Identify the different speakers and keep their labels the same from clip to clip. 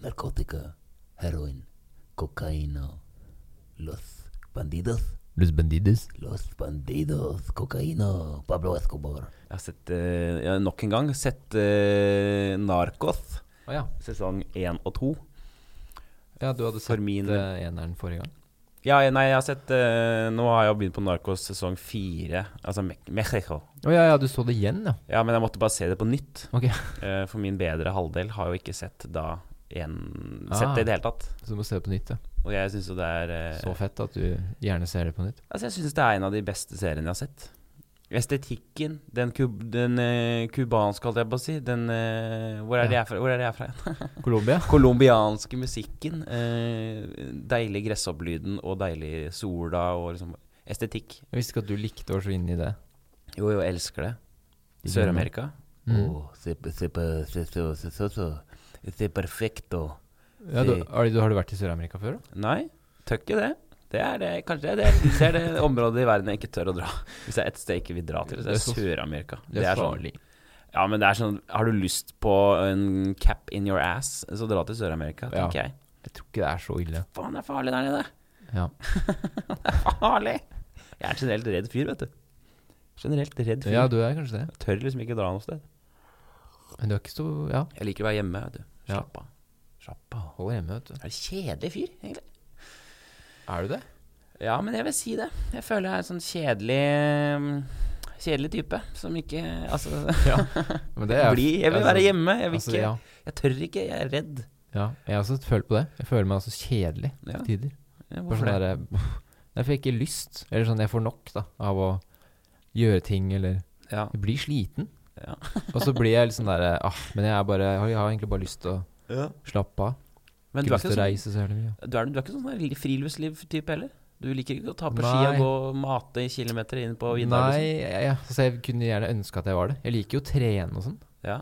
Speaker 1: narcótica, heroin, cocaína. Los bandidos,
Speaker 2: Los Bandidos.
Speaker 1: los bandidos, cocaína. Pablo Escobar.
Speaker 3: Jeg har sett, eh, jeg har nok en gang sett eh, Narcos,
Speaker 2: Å ja.
Speaker 3: sesong 1 og 2.
Speaker 2: ja, du hadde sett
Speaker 3: For min-
Speaker 2: eh, eneren forrige gang.
Speaker 3: Ja, jeg- nei, jeg har sett eh, Nå har jeg jo begynt på Narcos sesong 4, altså Me Mexico.
Speaker 2: Å ja, ja, du så det igjen, ja.
Speaker 3: Ja, men jeg måtte bare se det på nytt.
Speaker 2: Ok,
Speaker 3: Eh, for min bedre halvdel har jo ikke sett da en,
Speaker 2: Ah.
Speaker 3: Sett det i det hele tatt.
Speaker 2: Så du må se det på nytt, ja.
Speaker 3: Og jeg syns jo det er eh,
Speaker 2: Så fett at du gjerne ser det på nytt.
Speaker 3: Altså, jeg syns det er en av de beste seriene jeg har sett. Estetikken, den, kub den eh, kubanske, holdt jeg på å si den, eh, hvor, er det
Speaker 2: Ja.
Speaker 3: jeg er fra, hvor er det jeg er fra igjen?
Speaker 2: Colombia?
Speaker 3: Colombianske musikken. Eh, deilig gresshopplyden og deilig sola og liksom Estetikk.
Speaker 2: Jeg visste ikke at du likte å være så inne i det.
Speaker 3: Jo, jo, elsker det.
Speaker 2: De
Speaker 3: Sør-Amerika.
Speaker 2: Mm.
Speaker 1: Oh, se, se, se, se, se, se, se, se perfecto.
Speaker 2: Ja, du, har, du, har du vært i Sør-Amerika før, da?
Speaker 3: Nei, tør ikke det. Det er det, kanskje det. er Det, det er det området i verden jeg ikke tør å dra. Hvis det er ett sted jeg ikke vil dra til, så
Speaker 2: Det
Speaker 3: er det
Speaker 2: er så-
Speaker 3: Sør-Amerika.
Speaker 2: det er
Speaker 3: sånn-
Speaker 2: farlig.
Speaker 3: Ja, men det er sånn Har du lyst på en cap in your ass, så dra til Sør-Amerika,
Speaker 2: Ja.
Speaker 3: tenker jeg.
Speaker 2: Jeg tror ikke det er så ille.
Speaker 3: Faen, det er farlig der nede.
Speaker 2: Ja.
Speaker 3: Farlig! Jeg er generelt redd fyr, vet du. Generelt redd fyr.
Speaker 2: ja, du er kanskje det.
Speaker 3: Jeg tør liksom ikke dra noe sted.
Speaker 2: Men du er ikke så Ja,
Speaker 3: Jeg liker å være hjemme, vet du.
Speaker 2: Ja.
Speaker 3: Slapp av. Slapp av.
Speaker 2: holder hjemme, vet du.
Speaker 3: Jeg er en kjedelig fyr, egentlig.
Speaker 2: Er du det?
Speaker 3: Ja, men jeg vil si det. Jeg føler jeg er en sånn kjedelig mm, Kjedelig type som ikke Altså,
Speaker 2: Ja. Men det
Speaker 3: bli, jeg vil
Speaker 2: altså,
Speaker 3: være hjemme. Jeg vil
Speaker 2: altså,
Speaker 3: ikke
Speaker 2: ja.
Speaker 3: Jeg tør ikke, jeg er redd.
Speaker 2: Ja, jeg har også følt på det. Jeg føler meg altså kjedelig
Speaker 3: Ja.
Speaker 2: til tider.
Speaker 3: Ja,
Speaker 2: Bare
Speaker 3: Hvorfor
Speaker 2: sånn
Speaker 3: det?
Speaker 2: der eh, Jeg får ikke lyst. Eller sånn, jeg får nok da av å gjøre ting, eller
Speaker 3: Ja.
Speaker 2: Jeg blir sliten.
Speaker 3: Ja.
Speaker 2: og så blir jeg litt sånn derre ah, Men jeg er bare jeg har, jeg har egentlig bare lyst til å slappe av.
Speaker 3: Men du
Speaker 2: Ikke
Speaker 3: er
Speaker 2: lyst
Speaker 3: ikke
Speaker 2: til å
Speaker 3: sånn
Speaker 2: reise så jævlig mye.
Speaker 3: Du er, du er ikke sånn der friluftsliv-type heller? Du liker ikke å ta på ski
Speaker 2: Nei.
Speaker 3: og gå og mate i kilometer inn på vidda?
Speaker 2: Nei,
Speaker 3: liksom?
Speaker 2: jeg, jeg, altså, jeg kunne gjerne ønske at jeg var det. Jeg liker jo å trene og sånn.
Speaker 3: liksom? Ja.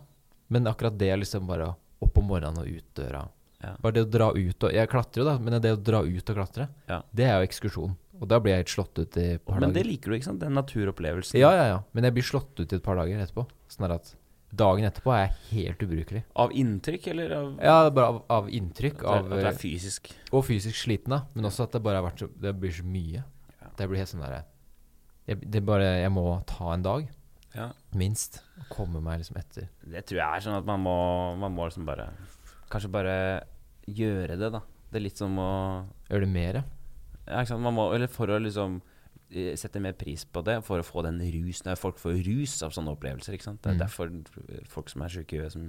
Speaker 2: Men akkurat det er liksom bare å opp om morgenen og ut døra.
Speaker 3: Ja.
Speaker 2: Bare det å dra ut og Jeg klatrer jo, da, men det å dra ut og klatre,
Speaker 3: Ja.
Speaker 2: det er jo ekskursjon. Og da blir jeg helt slått ut i et par
Speaker 3: Men det
Speaker 2: dager.
Speaker 3: liker du, ikke sant? Den naturopplevelsen.
Speaker 2: Ja, ja, ja. Men jeg blir slått ut i et par dager etterpå. Sånn er at dagen etterpå er jeg helt ubrukelig.
Speaker 3: Av inntrykk, eller av
Speaker 2: Ja, bare av, av inntrykk.
Speaker 3: at,
Speaker 2: Av, eh,
Speaker 3: det, at det er fysisk?
Speaker 2: og fysisk sliten, da. Men også at det bare har vært så Det blir så mye.
Speaker 3: Ja.
Speaker 2: Det blir helt sånn derre jeg, Det er bare Jeg må ta en dag,
Speaker 3: Ja.
Speaker 2: minst. Og komme meg liksom etter.
Speaker 3: Det tror jeg er sånn at man må, man må liksom bare Kanskje bare gjøre det, da. Det er litt som å
Speaker 2: Gjøre det mer, ja.
Speaker 3: ja, ikke sant? Man må, Eller for å liksom eh, sette mer pris på det, for å få den rusen Nei, Folk får rus av sånne opplevelser, ikke sant. Det er
Speaker 2: Mm.
Speaker 3: derfor folk som er sjuke i huet, som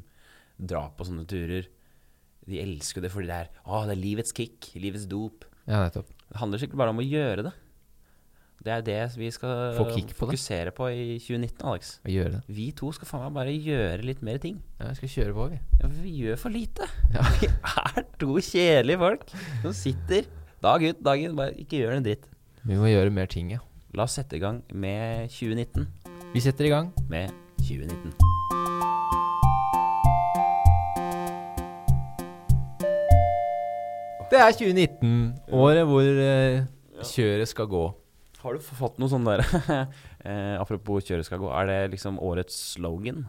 Speaker 3: drar på sånne turer, de elsker det fordi det er Å, det er livets kick. Livets dop.
Speaker 2: Ja, nettopp.
Speaker 3: Det handler sikkert bare om å gjøre det. Det er det vi skal
Speaker 2: Få kick på det.
Speaker 3: fokusere på i 2019, Alex.
Speaker 2: Å gjøre det.
Speaker 3: Vi to skal faen meg bare gjøre litt mer ting.
Speaker 2: Ja, vi skal kjøre på, vi.
Speaker 3: Ja, for vi gjør for lite.
Speaker 2: Ja.
Speaker 3: Vi er to kjedelige folk som sitter dag ut dag inn bare ikke gjør en dritt.
Speaker 2: Vi må gjøre mer ting, ja.
Speaker 3: La oss sette i gang med 2019.
Speaker 2: Vi setter i gang.
Speaker 3: Med 2019.
Speaker 2: Det er 2019, året hvor eh, kjøret skal gå.
Speaker 3: Har du fått noe sånn der eh, Apropos kjøret skal gå, er det liksom årets slogan?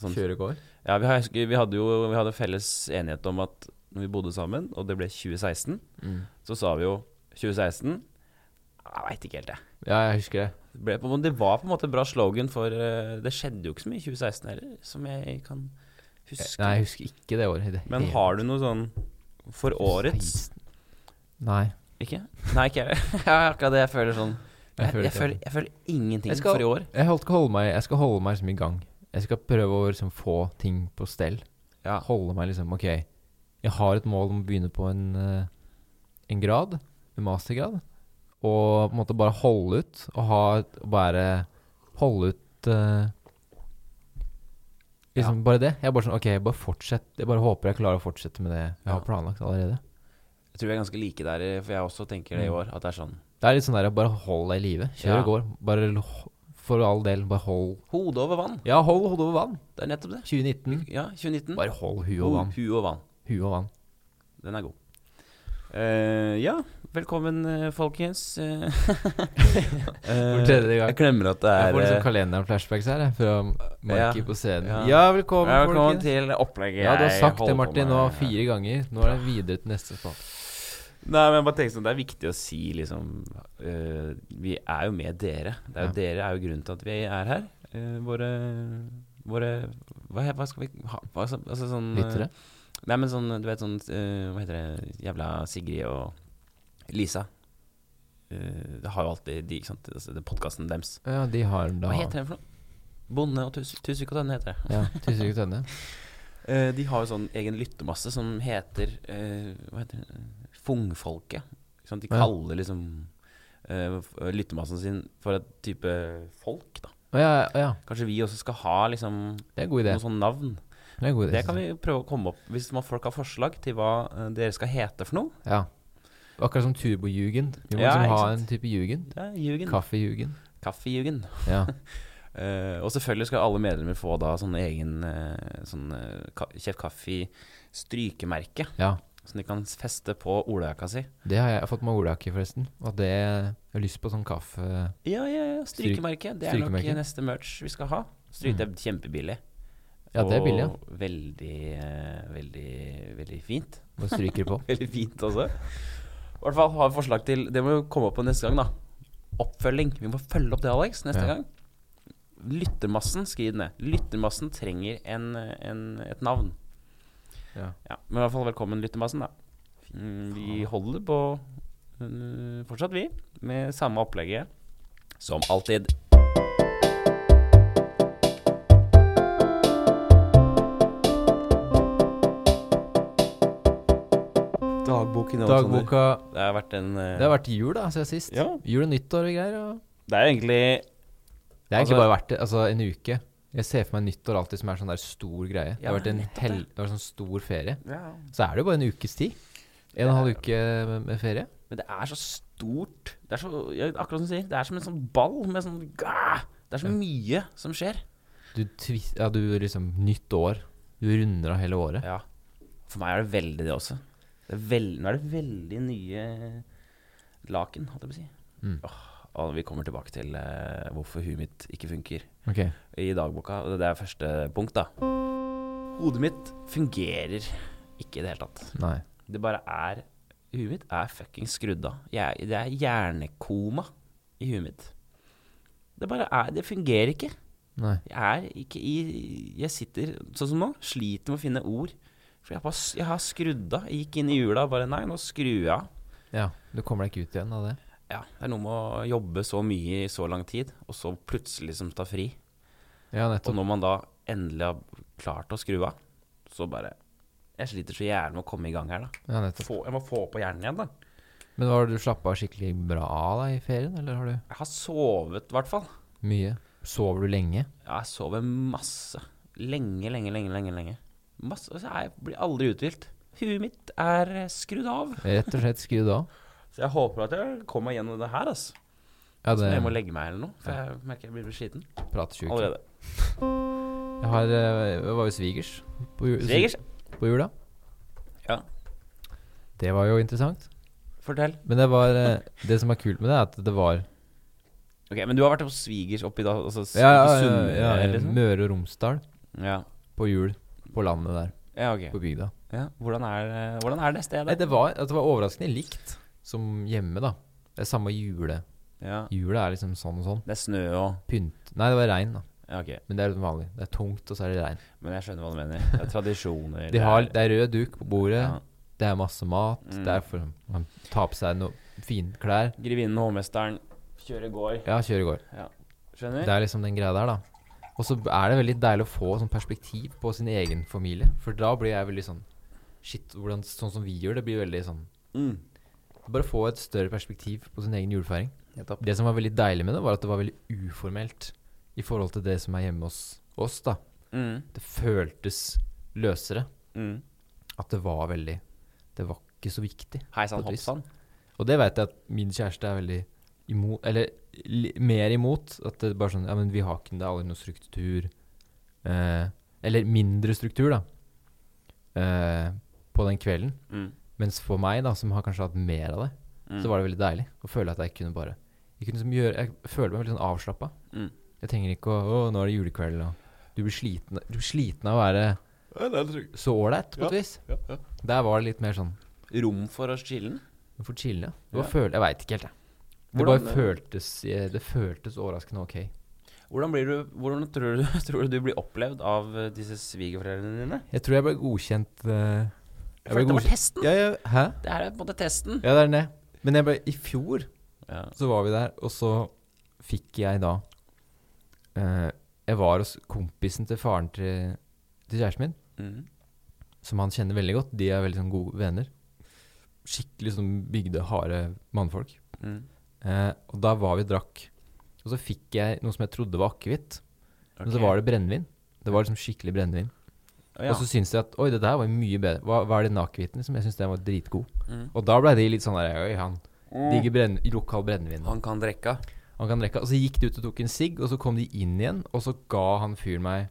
Speaker 3: Sånn-
Speaker 2: Kjøret går.
Speaker 3: Ja, vi, har, vi hadde jo vi hadde felles enighet om at når vi bodde sammen, og det ble 2016,
Speaker 2: Mm.
Speaker 3: så sa vi jo 2016 Jeg veit ikke helt, jeg.
Speaker 2: Ja, jeg husker det.
Speaker 3: Det, ble, på en måte- det var på en måte bra slogan, for eh, det skjedde jo ikke så mye i 2016 heller, som jeg kan huske.
Speaker 2: Nei, jeg husker ikke det året. i Det
Speaker 3: Men
Speaker 2: hele
Speaker 3: har du noe sånn for årets
Speaker 2: 16. Nei.
Speaker 3: Ikke? Nei, ikke jeg. Det er akkurat det jeg føler sånn.
Speaker 2: Jeg
Speaker 3: Jeg,
Speaker 2: føler
Speaker 3: jeg,
Speaker 2: ikke
Speaker 3: føler,
Speaker 2: det.
Speaker 3: jeg føler ingenting
Speaker 2: Jeg skal-
Speaker 3: for i år.
Speaker 2: Jeg, holdt, ikke holde meg, jeg skal holde meg liksom i gang. Jeg skal prøve å liksom få ting på stell.
Speaker 3: Ja.
Speaker 2: Holde meg liksom Ok, jeg har et mål om å begynne på en, eh, en grad, en mastergrad. Og på en måte bare holde ut. Og ha et, og bare holde ut eh, Liksom bare det. Jeg er bare sånn Ok, bare fortsett. Jeg bare håper jeg klarer å fortsette med det jeg
Speaker 3: Ja.
Speaker 2: har planlagt allerede.
Speaker 3: Jeg tror vi er ganske like der, eh, for jeg også tenker det
Speaker 2: Mm.
Speaker 3: i år. At det er sånn
Speaker 2: Det er litt sånn der bare hold deg i live. Kjør
Speaker 3: Ja.
Speaker 2: og går. Bare l- for all del, bare hold
Speaker 3: Hode over vann.
Speaker 2: Ja, hold hodet over vann.
Speaker 3: Det er nettopp det.
Speaker 2: 2019.
Speaker 3: Ja, 2019.
Speaker 2: Bare hold huet
Speaker 3: Ho-
Speaker 2: over vann.
Speaker 3: Hue og vann.
Speaker 2: Huet og vann.
Speaker 3: Den er god. Eh, ja, Velkommen, eh, folkens. Eh,
Speaker 2: For tredje gang.
Speaker 3: Jeg glemmer at det
Speaker 2: Jeg
Speaker 3: er
Speaker 2: får liksom
Speaker 3: eh,
Speaker 2: kalenderen-flashbacks her, jeg, fra Marki
Speaker 3: Ja.
Speaker 2: på scenen.
Speaker 3: Ja.
Speaker 2: Ja, velkommen,
Speaker 3: ja, Velkommen
Speaker 2: folkens.
Speaker 3: til opplegget
Speaker 2: Ja, du har
Speaker 3: jeg
Speaker 2: sagt det,
Speaker 3: holder på
Speaker 2: Martin,
Speaker 3: med.
Speaker 2: nå fire ganger. Nå er det videre til neste spalte.
Speaker 3: Nei, men jeg bare tenkte sånn, Det er viktig å si liksom eh, Vi er jo med dere. Det er jo
Speaker 2: Ja.
Speaker 3: Dere er jo grunnen til at vi er her. Eh, våre Våre hva, he- hva skal vi ha hva, så- Altså sånn eh,
Speaker 2: Lyttere.
Speaker 3: Nei, men sånn Du vet sånn eh, Hva heter det Jævla Sigrid og Lisa. Eh, det har jo alltid de, ikke sant altså, Podkasten deres.
Speaker 2: Ja, de har da
Speaker 3: Hva heter den for noe? Bonde og Tus- Tusvik og Tønne heter det.
Speaker 2: Ja, Tusvik og Tønne.
Speaker 3: Eh, de har jo sånn egen lyttemasse som heter eh, Hva heter det? Fungfolket. Ikke sant? de
Speaker 2: Ja.
Speaker 3: kaller liksom eh, f- lyttemassen sin for et type folk, da.
Speaker 2: Å ja, å ja.
Speaker 3: Kanskje vi også skal ha liksom
Speaker 2: Det er en god idé.
Speaker 3: noe sånn navn.
Speaker 2: Det er en god idé.
Speaker 3: Det kan
Speaker 2: synes jeg.
Speaker 3: vi prøve å komme opp Hvis man folk har forslag til hva eh, dere skal hete for noe.
Speaker 2: Ja. Akkurat som Turbo-jugend. Vi må
Speaker 3: Ja,
Speaker 2: liksom
Speaker 3: ikke
Speaker 2: ha
Speaker 3: sant?
Speaker 2: en type jugend.
Speaker 3: Det er Jugend.
Speaker 2: Kaffe-jugend.
Speaker 3: Kaffejugend.
Speaker 2: Ja.
Speaker 3: Eh, og selvfølgelig skal alle medlemmer få da sånn egen eh, sånn eh, ka Kjef Kaffe-strykemerke.
Speaker 2: ja.
Speaker 3: Som de kan feste på olajakka si.
Speaker 2: Det har jeg fått med olajakke, forresten. At det Jeg har lyst på sånn kaffe...
Speaker 3: Ja, ja, ja. Strykemerke. Det er
Speaker 2: Strykemerke. Mm.
Speaker 3: nok neste merch vi skal ha. Stryke er kjempebillig.
Speaker 2: Ja, det er billig, ja.
Speaker 3: Og veldig, eh, veldig, veldig fint.
Speaker 2: Bare stryker på.
Speaker 3: Veldig fint også. I hvert fall har vi forslag til Det må jo komme opp på neste gang, da. Oppfølging. Vi må følge opp det, Alex, neste
Speaker 2: Ja.
Speaker 3: gang. Lyttermassen, skriv det ned. Lyttermassen trenger en, en, et navn.
Speaker 2: Ja.
Speaker 3: Ja, men i hvert fall velkommen, lyttermassen, da. Mm, Vi holder på mm, fortsatt, vi, med samme opplegget som alltid. Dagboken
Speaker 2: Dagboka
Speaker 3: Det har vært en eh,
Speaker 2: Det har vært jul, da, siden sist.
Speaker 3: Ja.
Speaker 2: Jul og nyttår og greier. Og
Speaker 3: Det er jo egentlig
Speaker 2: det har egentlig
Speaker 3: Altså-
Speaker 2: bare vært altså, en uke. Jeg ser for meg nyttår alltid som er sånn der stor greie. det har vært en hel, det har vært sånn stor ferie. Så er det jo bare en ukes tid. En og en halv uke med- med ferie.
Speaker 3: Men det er så stort. Det er så, ja, akkurat som du sier, det er som en sånn ball med sånn gah! Det er så mye som skjer.
Speaker 2: Du, tvis, ja, du liksom Nytt år. Du runder av hele året.
Speaker 3: Ja. For meg er det veldig det også. Det er vel- nå er det veldig nye laken, holdt jeg på å si.
Speaker 2: Mm.
Speaker 3: Åh, og vi kommer tilbake til eh, hvorfor huet mitt ikke funker
Speaker 2: Ok.
Speaker 3: i dagboka. og Det er første punkt, da. Hodet mitt fungerer ikke i det hele tatt.
Speaker 2: Nei.
Speaker 3: Det bare er Huet mitt er fuckings skrudd av. Jeg, det er hjernekoma i huet mitt. Det bare er Det fungerer ikke.
Speaker 2: Nei.
Speaker 3: Jeg er ikke i Jeg sitter sånn som nå, sliter med å finne ord. For jeg, bare, s- jeg har skrudd av. Jeg gikk inn i jula og bare Nei, nå skrur jeg av.
Speaker 2: Ja. Du kommer deg ikke ut igjen av det.
Speaker 3: Ja, det er noe med å jobbe så mye i så lang tid, og så plutselig som ta fri.
Speaker 2: Ja,
Speaker 3: Og
Speaker 2: nettopp.
Speaker 3: når man da endelig har klart å skru av, så bare Jeg sliter så gjerne med å komme i gang her, da.
Speaker 2: Ja, nettopp.
Speaker 3: Få, jeg må få på hjernen igjen, da.
Speaker 2: Men var det du slappa skikkelig bra av deg i ferien, eller har du
Speaker 3: Jeg har sovet, i hvert fall.
Speaker 2: mye? Sover du lenge?
Speaker 3: Ja, jeg sover masse. Lenge, lenge, lenge, lenge. lenge. Masse, altså, Jeg blir aldri uthvilt. Huet mitt er eh, skrudd av.
Speaker 2: Rett og slett skrudd av?
Speaker 3: Så jeg håper at jeg kommer gjennom det her, altså.
Speaker 2: Ja,
Speaker 3: Så jeg må
Speaker 2: det
Speaker 3: legge meg eller noe, for jeg merker jeg blir sliten
Speaker 2: prater sjukt.
Speaker 3: allerede.
Speaker 2: Jeg har, eh, jeg var jo svigers på, ju-
Speaker 3: Svigers,
Speaker 2: på jula.
Speaker 3: Ja.
Speaker 2: Det var jo interessant.
Speaker 3: fortell.
Speaker 2: Men det, var, eh, det som er kult med det, er at det var
Speaker 3: Ok, Men du har vært hos svigers oppi da, altså s-
Speaker 2: ja,
Speaker 3: oppe
Speaker 2: ja,
Speaker 3: i Sunnmøre,
Speaker 2: ja, ja,
Speaker 3: liksom?
Speaker 2: Møre og Romsdal
Speaker 3: Ja.
Speaker 2: på jul på landet der,
Speaker 3: ja,
Speaker 2: på
Speaker 3: ok.
Speaker 2: bygda.
Speaker 3: Ja. Hvordan, er, eh, hvordan er det
Speaker 2: Nei,
Speaker 3: stedet?
Speaker 2: det, var, at det var overraskende likt som hjemme, da. Det er samme jule.
Speaker 3: Ja.
Speaker 2: Jula er liksom sånn og sånn.
Speaker 3: Det er snø og
Speaker 2: Pynt Nei, det var regn, da.
Speaker 3: Ja, ok.
Speaker 2: Men det er litt vanlig. Det er tungt, og så er det regn.
Speaker 3: Men jeg skjønner hva du mener. Det er tradisjoner.
Speaker 2: De har, det er rød duk på bordet,
Speaker 3: ja.
Speaker 2: det er masse mat,
Speaker 3: Mm.
Speaker 2: det er for Man tar på seg noen fine klær.
Speaker 3: Grevinnen og hovmesteren kjører gård.
Speaker 2: Ja, kjør i går.
Speaker 3: Skjønner?
Speaker 2: Det er liksom den greia der, da. Og så er det veldig deilig å få sånn perspektiv på sin egen familie. For da blir jeg veldig sånn Shit, hvordan, sånn som vi gjør det, blir veldig sånn
Speaker 3: Mm.
Speaker 2: Bare få et større perspektiv på sin egen julefeiring.
Speaker 3: Nettopp.
Speaker 2: Det som var veldig deilig med det, var at det var veldig uformelt i forhold til det som er hjemme hos oss, da.
Speaker 3: Mm.
Speaker 2: Det føltes løsere.
Speaker 3: Mm.
Speaker 2: At det var veldig Det var ikke så viktig.
Speaker 3: Hei
Speaker 2: På
Speaker 3: sann,
Speaker 2: et
Speaker 3: hopp
Speaker 2: vis.
Speaker 3: sann.
Speaker 2: Og det veit jeg at min kjæreste er veldig imot Eller li, mer imot. At det bare sånn Ja, men vi har ikke det er aldri noe struktur. Eh, eller mindre struktur, da. Eh, på den kvelden.
Speaker 3: Mm.
Speaker 2: Mens for meg, da, som har kanskje hatt mer av det,
Speaker 3: Mm.
Speaker 2: så var det veldig deilig å føle at jeg kunne bare Jeg, kunne liksom gjøre, jeg føler meg veldig sånn avslappa.
Speaker 3: Mm.
Speaker 2: Jeg trenger ikke å Å, nå er det julekveld, og Du blir sliten, du blir sliten av å være så ålreit, på et vis. Der var det litt mer sånn
Speaker 3: Rom for å chille?
Speaker 2: Du får chille. Du bare
Speaker 3: Ja.
Speaker 2: føler Jeg veit ikke helt, jeg. Det
Speaker 3: Hvordan-
Speaker 2: bare føltes eh, Det føltes overraskende ok.
Speaker 3: Hvordan, blir du, hvordan tror, du, tror du du blir opplevd av eh, disse svigerforeldrene dine?
Speaker 2: Jeg tror jeg ble godkjent eh, Jeg ble
Speaker 3: Følte det var
Speaker 2: godkjent
Speaker 3: testen!
Speaker 2: ja, ja, Hæ?
Speaker 3: Det her er på en måte testen.
Speaker 2: Ja, det er det. Men jeg ble I fjor
Speaker 3: Ja.
Speaker 2: så var vi der, og så fikk jeg da eh, Jeg var hos kompisen til faren til, til kjæresten min,
Speaker 3: Mm.
Speaker 2: som han kjenner veldig godt. De er veldig sånn gode venner. Skikkelig sånn bygde, harde mannfolk.
Speaker 3: Mm.
Speaker 2: Eh, og da var vi og drakk. Og så fikk jeg noe som jeg trodde var akevitt, men
Speaker 3: Ok.
Speaker 2: så var det brennevin. Det var liksom skikkelig brennevin.
Speaker 3: Å, ja.
Speaker 2: Og så syntes jeg at oi, det der var mye bedre. Hva, hva er det nakevitten? Liksom? Jeg syns den var dritgod.
Speaker 3: Mm.
Speaker 2: Og da ble de litt sånn der Oi, han digger brenn lokal brennevin.
Speaker 3: Mm. Han kan drikke.
Speaker 2: Han kan rekke. Og så gikk de ut og tok en sigg, og så kom de inn igjen, og så ga han fyren meg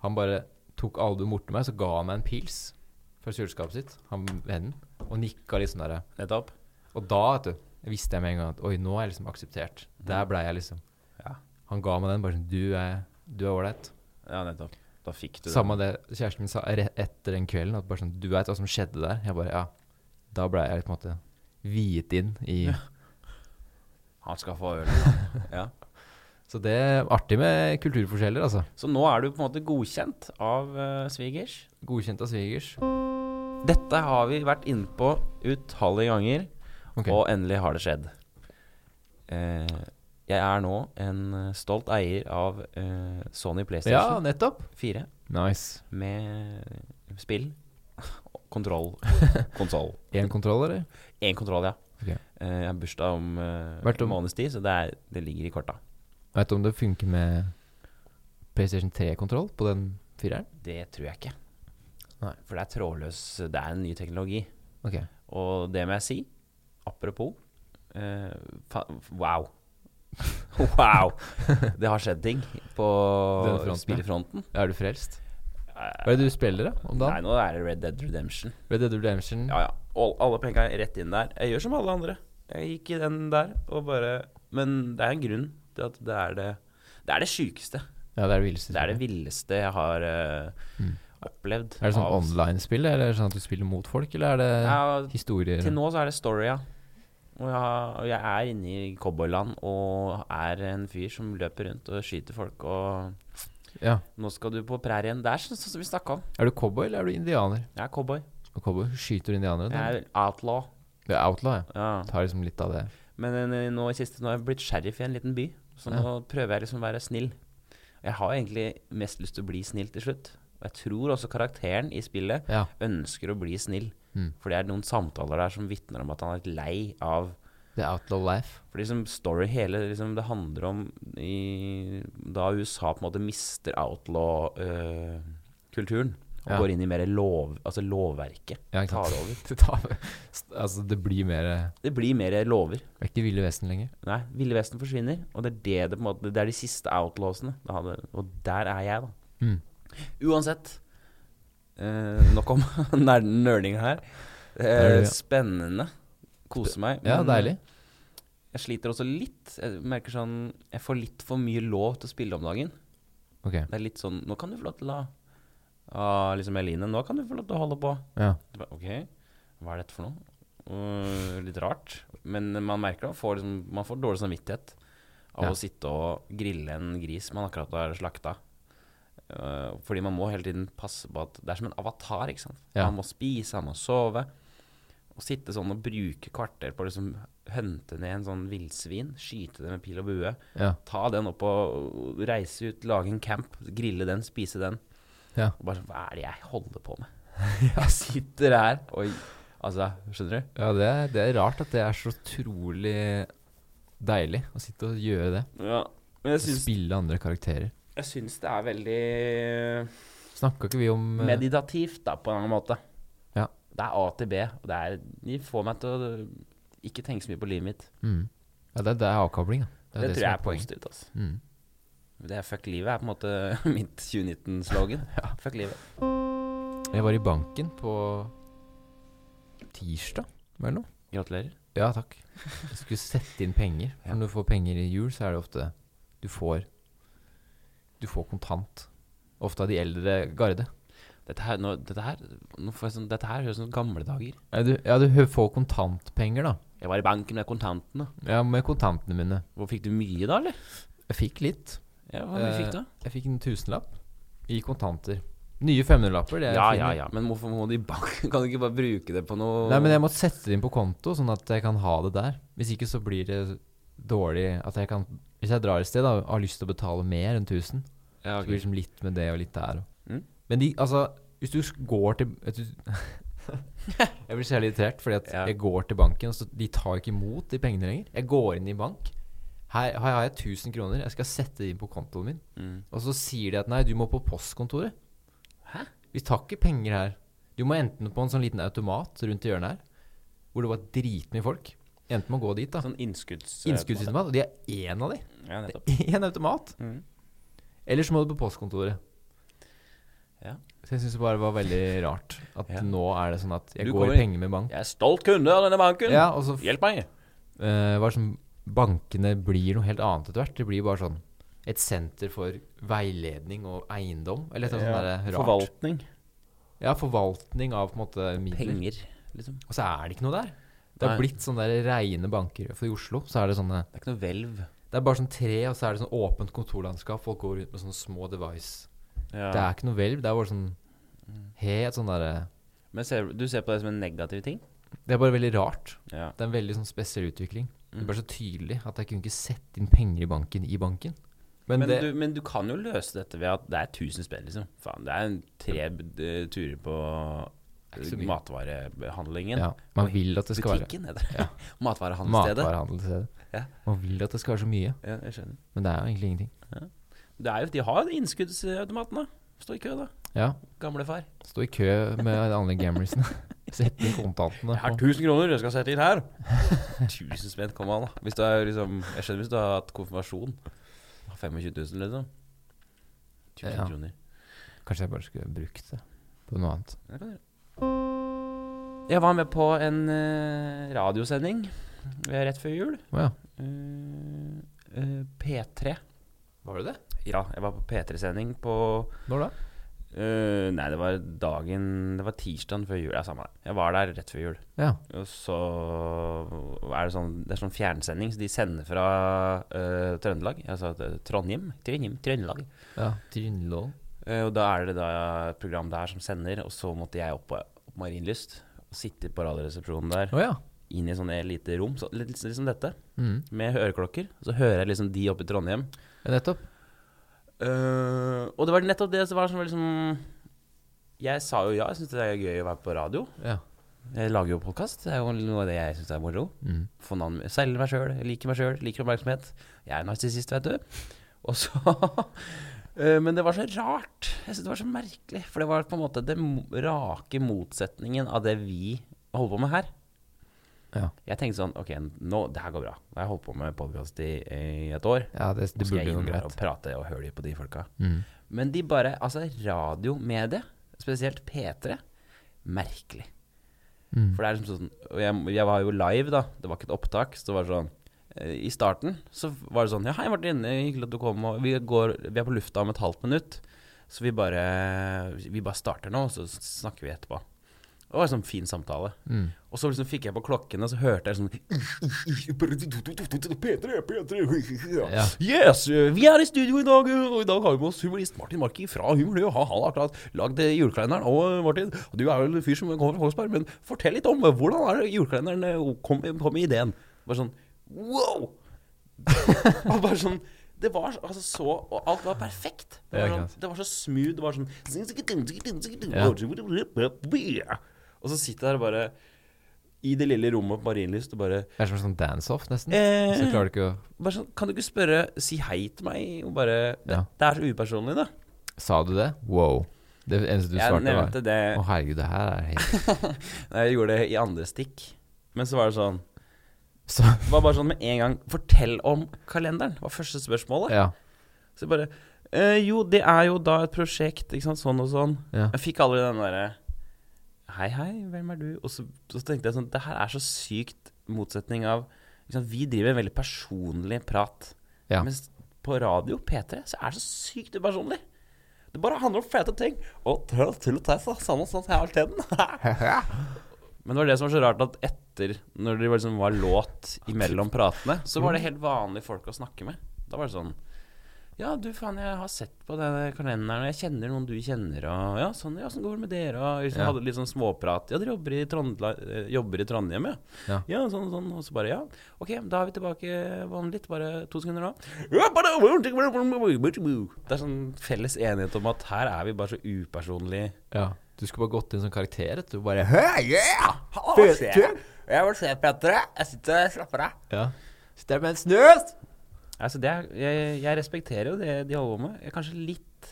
Speaker 2: Han bare tok albuen borti meg, så ga han meg en pils fra kjøleskapet sitt, han vennen, og nikka litt sånn derre.
Speaker 3: Nettopp.
Speaker 2: Og da, vet du, visste jeg med en gang at oi, nå er jeg liksom akseptert. Der blei jeg liksom
Speaker 3: Ja.
Speaker 2: Han ga meg den, bare sånn Du er du er ålreit.
Speaker 3: Ja, nettopp. Da fikk du
Speaker 2: Samme det kjæresten min sa re- etter den kvelden, at bare sånn Du veit hva som skjedde der? Jeg bare Ja. Da blei jeg på en måte viet inn i
Speaker 3: det. Han skal få øl. han. ja.
Speaker 2: Så det er artig med kulturforskjeller, altså.
Speaker 3: Så nå er du på en måte godkjent av eh, svigers.
Speaker 2: Godkjent av svigers.
Speaker 3: Dette har vi vært inne på utallige ganger,
Speaker 2: Ok.
Speaker 3: og endelig har det skjedd. Eh, jeg er nå en eh, stolt eier av eh, Sony
Speaker 2: Ja,
Speaker 3: PlayStation
Speaker 2: nettopp.
Speaker 3: 4
Speaker 2: Nice.
Speaker 3: med spill, kontroll, konsoll.
Speaker 2: Én kontroll, eller?
Speaker 3: Én kontroll, ja.
Speaker 2: Ok.
Speaker 3: Eh, jeg har bursdag om eh,
Speaker 2: Hvert om-
Speaker 3: en måneds tid, så det, er, det ligger i korta.
Speaker 2: Veit du om det funker med PlayStation 3-kontroll på den fireren?
Speaker 3: Det tror jeg ikke.
Speaker 2: Nei.
Speaker 3: For det er trådløs Det er en ny teknologi.
Speaker 2: Ok.
Speaker 3: Og det må jeg si, apropos eh, fa Wow. wow! Det har skjedd ting på
Speaker 2: Denne fronten, ja.
Speaker 3: spillefronten.
Speaker 2: Er du frelst? Hva er det du spiller, da? Om
Speaker 3: Nei,
Speaker 2: dagen?
Speaker 3: nå er det Red Dead Redemption.
Speaker 2: Red Dead Redemption?
Speaker 3: Ja, ja. All, alle penga rett inn der. Jeg gjør som alle andre. Jeg gikk i den der og bare Men det er en grunn til at det er det Det er det sjukeste.
Speaker 2: Ja, det er det villeste.
Speaker 3: Det er det
Speaker 2: spillet.
Speaker 3: villeste jeg har eh, opplevd.
Speaker 2: Mm. Er det sånn
Speaker 3: av-
Speaker 2: online-spill, eller er det sånn at du spiller mot folk, eller er det
Speaker 3: Ja,
Speaker 2: historier?
Speaker 3: Til nå så er det story, ja. Og jeg, har- og jeg er inne i cowboyland og er en fyr som løper rundt og skyter folk. Og
Speaker 2: Ja.
Speaker 3: nå skal du på prærien. Det er sånn som vi snakka om.
Speaker 2: Er du cowboy, eller er du indianer?
Speaker 3: Jeg er cowboy.
Speaker 2: Og cowboy skyter indianere. da?
Speaker 3: Jeg er outlaw.
Speaker 2: Det er outlaw, ja.
Speaker 3: Ja.
Speaker 2: Tar liksom litt av det.
Speaker 3: Men eh, nå i siste nå har jeg blitt sheriff i en liten by, så nå prøver jeg liksom å være snill. Jeg har egentlig mest lyst til å bli snill til slutt. Og jeg tror også karakteren i spillet
Speaker 2: Ja.
Speaker 3: ønsker å bli snill.
Speaker 2: Mm.
Speaker 3: For det er noen samtaler der som vitner om at han er litt lei av
Speaker 2: Det er outlaw life.
Speaker 3: For liksom story hele liksom, Det handler om i, da USA på en måte mister outlaw-kulturen. og
Speaker 2: Ja.
Speaker 3: går inn i mer lov, altså lovverket.
Speaker 2: Ja, ikke
Speaker 3: Tar
Speaker 2: sant.
Speaker 3: over.
Speaker 2: Det, tar, altså, det blir mer Det
Speaker 3: Det blir mer lover.
Speaker 2: er ikke Ville Vesten lenger.
Speaker 3: Nei, Ville Vesten forsvinner. Og det er, det, det, på en måte, det er de siste outlawsene. Da hadde, og der er jeg, da.
Speaker 2: Mm.
Speaker 3: Uansett. Eh, nok om nerd- nerding her.
Speaker 2: er
Speaker 3: Eh,
Speaker 2: det, ja.
Speaker 3: spennende. Kose meg.
Speaker 2: Ja,
Speaker 3: men- eh,
Speaker 2: deilig.
Speaker 3: Jeg sliter også litt. Jeg merker sånn Jeg får litt for mye lov til å spille om dagen.
Speaker 2: Ok.
Speaker 3: Det er litt sånn Nå kan du få lov til å ah, Liksom Eline, nå kan du få lov til å holde på.
Speaker 2: Ja.
Speaker 3: Du bare, Ok, hva er dette for noe? Og litt rart. Men man merker da får liksom, Man får dårlig samvittighet av
Speaker 2: Ja.
Speaker 3: å sitte og grille en gris man akkurat har slakta. Eh, fordi man må hele tiden passe på at Det er som en avatar, ikke sant.
Speaker 2: Ja.
Speaker 3: Han må spise, han må sove. Å sitte sånn og bruke kvarter på å liksom hønte ned en sånn villsvin, skyte det med pil og bue,
Speaker 2: Ja.
Speaker 3: ta den opp og reise ut, lage en camp, grille den, spise den.
Speaker 2: Ja.
Speaker 3: Og bare sånn, hva er det jeg holder på med? Jeg sitter her og Altså, skjønner du?
Speaker 2: Ja, det er, det er rart at det er så utrolig deilig å sitte og gjøre det.
Speaker 3: Ja. Men jeg
Speaker 2: Og spille andre karakterer.
Speaker 3: jeg syns det er veldig
Speaker 2: Snakka ikke vi om eh,
Speaker 3: meditativt, da, på en annen måte.
Speaker 2: Ja.
Speaker 3: Det er A til B, og det er De får meg til å ikke tenke så mye på livet mitt.
Speaker 2: mm. Ja, det, det er avkobling, da.
Speaker 3: Det,
Speaker 2: er
Speaker 3: tror jeg er
Speaker 2: poenget.
Speaker 3: positivt, altså.
Speaker 2: Mm.
Speaker 3: Det er fuck livet er på en måte mitt 2019-slogan.
Speaker 2: Ja.
Speaker 3: Fuck livet.
Speaker 2: Jeg var i banken på tirsdag eller noe.
Speaker 3: Gratulerer.
Speaker 2: Ja, takk. Jeg skulle sette inn penger.
Speaker 3: Ja.
Speaker 2: Når du får penger i jul, så er det ofte du får Du får kontant. Ofte av de eldre garde.
Speaker 3: Dette her, nå, dette her, nå får jeg sånn, dette her høres ut som gamle dager.
Speaker 2: Ja, du, ja, du hø- får kontantpenger, da.
Speaker 3: Jeg var i banken med kontantene.
Speaker 2: Ja, med kontantene mine.
Speaker 3: Hvor fikk du mye da, eller?
Speaker 2: Jeg fikk litt.
Speaker 3: Ja, hva mye
Speaker 2: Eh,
Speaker 3: fikk du?
Speaker 2: Jeg fikk en tusenlapp i kontanter. Nye 500-lapper. det er
Speaker 3: Ja,
Speaker 2: fine.
Speaker 3: ja, ja. Men hvorfor må de i banken? Kan du ikke bare bruke det på noe
Speaker 2: Nei, men jeg må sette det inn på konto, sånn at jeg kan ha det der. Hvis ikke så blir det dårlig at jeg kan Hvis jeg drar et sted da, og har lyst til å betale mer enn 1000,
Speaker 3: ja,
Speaker 2: så
Speaker 3: ok.
Speaker 2: blir det liksom litt med det og litt der. og-
Speaker 3: Mm.
Speaker 2: Men de, altså Hvis du s- går til vet du- Jeg blir så jævlig irritert, fordi at
Speaker 3: Ja.
Speaker 2: jeg går til banken, og så de tar ikke imot de pengene lenger. Jeg går inn i bank. Her har jeg 1000 kroner. Jeg skal sette det inn på kontoen min.
Speaker 3: Mm.
Speaker 2: Og så sier de at nei, du må på postkontoret.
Speaker 3: Hæ?
Speaker 2: Vi tar ikke penger her. Du må enten på en sånn liten automat rundt i hjørnet her, hvor det var dritmye folk. Enten må gå dit, da.
Speaker 3: Sånn innskudds...
Speaker 2: Innskuddsautomat. Og de er én av de.
Speaker 3: Ja, nettopp.
Speaker 2: Det er én automat.
Speaker 3: Mm.
Speaker 2: Eller så må du på postkontoret.
Speaker 3: Ja.
Speaker 2: Så jeg syns det bare var veldig rart at
Speaker 3: Ja.
Speaker 2: nå er det sånn at jeg
Speaker 3: Du
Speaker 2: går
Speaker 3: kommer
Speaker 2: i
Speaker 3: inn.
Speaker 2: penger med bank.
Speaker 3: Jeg er stolt kunde av denne banken.
Speaker 2: Ja, og så f-
Speaker 3: Hjelp meg.
Speaker 2: eh, var det sånn Bankene blir noe helt annet etter hvert. Det blir bare sånn et senter for veiledning og eiendom, eller et eller annet sånt sånn der eh, rart.
Speaker 3: Forvaltning.
Speaker 2: Ja, forvaltning av på en måte midler.
Speaker 3: Penger, liksom.
Speaker 2: Og så er det ikke noe der. Det har
Speaker 3: Nei.
Speaker 2: blitt sånne der reine banker. For i Oslo så er det sånne
Speaker 3: Det er ikke noe hvelv.
Speaker 2: Det er bare sånn tre, og så er det sånn åpent kontorlandskap. Folk går rundt med sånne små device.
Speaker 3: Ja.
Speaker 2: Det er ikke noe hvelv. Det er bare sånn helt sånn derre
Speaker 3: Men ser, du ser på det som en negativ ting?
Speaker 2: Det er bare veldig rart.
Speaker 3: Ja.
Speaker 2: Det er en veldig sånn spesiell utvikling. Det
Speaker 3: Mm.
Speaker 2: ble så tydelig at jeg kunne ikke sette inn penger i banken i banken. Men,
Speaker 3: Men,
Speaker 2: det,
Speaker 3: du, men du kan jo løse dette ved at det er 1000 spenn, liksom. Faen, det er en tre eh, turer på
Speaker 2: Det er ikke så mye.
Speaker 3: matvarebehandlingen.
Speaker 2: ja, man vil at det skal være
Speaker 3: Butikken heter det. Matvarehandelsstedet.
Speaker 2: matvarehandelsstedet.
Speaker 3: Ja.
Speaker 2: Man vil at det skal være så mye,
Speaker 3: Ja, jeg skjønner.
Speaker 2: men det er jo egentlig ingenting.
Speaker 3: Det er jo, de har innskuddsautomatene. Stå i kø, da.
Speaker 2: Ja,
Speaker 3: Gamlefar.
Speaker 2: stå i kø med de andre gamersene. Sett inn kontantene.
Speaker 3: Jeg har
Speaker 2: og-
Speaker 3: 1000 kroner, jeg skal sette inn her. 1000 spenn, kom an, da. Hvis du er liksom, jeg skjønner hvis du har hatt konfirmasjon. 25 000, liksom. 1000
Speaker 2: Ja.
Speaker 3: kroner.
Speaker 2: Kanskje jeg bare skulle brukt det på noe annet.
Speaker 3: Det kan du gjøre. Jeg var med på en eh, radiosending eh, rett før jul.
Speaker 2: Å ja.
Speaker 3: Eh, eh, P3.
Speaker 2: Var det det?
Speaker 3: Ja, jeg var på P3-sending på
Speaker 2: Når da?
Speaker 3: eh, Nei, det var dagen Det var tirsdagen før jul. Ja, samme det. Jeg var der rett før jul.
Speaker 2: Ja.
Speaker 3: Og så er det sånn Det er sånn fjernsending, så de sender fra eh, Trøndelag. Altså eh, Trondheim. Trondheim, Trøndelag.
Speaker 2: ja. Trynlån.
Speaker 3: Eh, Og da er det da et program der som sender, og så måtte jeg opp på opp på Marienlyst. og Sitte på radioresepsjonen der,
Speaker 2: Å ja.
Speaker 3: inn i sånne lite rom, så, litt, litt som dette,
Speaker 2: Mm.
Speaker 3: med høreklokker. Så hører jeg liksom de oppe i Trondheim.
Speaker 2: Ja, Nettopp.
Speaker 3: Eh, og det var nettopp det som var som var liksom Jeg sa jo ja, jeg syns det er gøy å være på radio.
Speaker 2: Ja.
Speaker 3: Jeg lager jo podkast, det er jo noe av det jeg syns er moro.
Speaker 2: Mm.
Speaker 3: Få navn- Selge meg sjøl, liker meg sjøl, liker oppmerksomhet. Jeg er narsissist, vet du. Og så Eh, Men det var så rart. Jeg synes det var så merkelig. For det var på en måte den mo- rake motsetningen av det vi holder på med her.
Speaker 2: Ja.
Speaker 3: Jeg tenkte sånn Ok, nå, det her går bra. Nå har jeg holdt på med podkast i, i et år.
Speaker 2: ja det, det
Speaker 3: Nå skal
Speaker 2: burde
Speaker 3: jeg
Speaker 2: jo
Speaker 3: inn
Speaker 2: gå
Speaker 3: her og
Speaker 2: greit.
Speaker 3: prate og høre på de folka.
Speaker 2: Mm.
Speaker 3: Men de bare Altså, radiomediet, spesielt P3, merkelig.
Speaker 2: Mm.
Speaker 3: For det er liksom sånn Og jeg, jeg var jo live, da. Det var ikke et opptak. Så det var sånn eh, I starten så var det sånn Ja, hei, Martin. eh, Hyggelig at du kom. Og vi, går, vi er på lufta om et halvt minutt. Så vi bare Vi bare starter nå, og så snakker vi etterpå. Det var en sånn fin samtale.
Speaker 2: Mm.
Speaker 3: Og så liksom fikk jeg på klokken, og så hørte jeg sånn P3, P3
Speaker 2: Ja.
Speaker 3: Yes, vi er i studio i dag, og i dag har vi med oss humorist Martin Marki fra Humorø. Han har akkurat lagd julekalenderen. Og Martin, du er vel en fyr som kommer fra Kongsberg, men fortell litt om hvordan er det julekalenderen eh, kom, kom med ideen? Bare sånn wow! og bare sånn det var så- altså så Og alt var perfekt. Det var,
Speaker 2: Ja, ikke
Speaker 3: sånn,
Speaker 2: sant.
Speaker 3: det var så smooth. Det var sånn Og så sitter jeg der og bare I det lille rommet på Marienlyst og bare
Speaker 2: Det er som en sånn dance-off, nesten.
Speaker 3: Eh.
Speaker 2: Så klarer du ikke å
Speaker 3: bare sånn, Kan du ikke spørre Si hei til meg og bare det,
Speaker 2: Ja.
Speaker 3: det er så upersonlig, da.
Speaker 2: Sa du det? Wow. Det eneste du
Speaker 3: jeg
Speaker 2: svarte, var
Speaker 3: nevnte det
Speaker 2: Å, herregud, det her er helt
Speaker 3: Nei, Jeg gjorde det i andre stikk. Men så var det sånn
Speaker 2: Så
Speaker 3: Det var bare sånn med en gang Fortell om kalenderen, var første spørsmålet.
Speaker 2: Ja.
Speaker 3: Så jeg bare eh, Jo, det er jo da et prosjekt, ikke sant, sånn og sånn.
Speaker 2: ja.
Speaker 3: Jeg fikk aldri den derre Hei, hei, hvem er du? Og så, så tenkte jeg sånn Det her er så sykt motsetning av ikke sant, Vi driver en veldig personlig prat.
Speaker 2: Ja.
Speaker 3: Mens på radio, P3, så er det så sykt upersonlig. Det bare handler om fete ting. Og tøll, tull og tess, da. Samme sånn hele tiden. Men det var det som var så rart, at etter, når det var liksom var låt imellom pratene, så
Speaker 2: Mm.
Speaker 3: var det helt vanlige folk å snakke med. Da var det sånn Ja, du faen, jeg har sett på denne kalenderen, og jeg kjenner noen du kjenner, og ja, sånn, ja, sånn går det med dere, og liksom,
Speaker 2: Ja.
Speaker 3: hadde litt sånn småprat. Ja, dere jobber i, Trondla, eh, jobber i Trondheim, ja.
Speaker 2: Ja.
Speaker 3: sånn, sånn, og så bare, ja. Ok, da er vi tilbake vanlig, bare to sekunder nå. Det er sånn felles enighet om at her er vi bare så upersonlige.
Speaker 2: Ja. Du skulle bare gått inn som karakter. vet Du bare Hei, yeah!
Speaker 3: Jeg vil se, Petre. Jeg sitter og slapper av.
Speaker 2: Ja. Sitter der med en snus!
Speaker 3: Altså, det er, jeg, jeg respekterer jo det de holder på med. Jeg er kanskje litt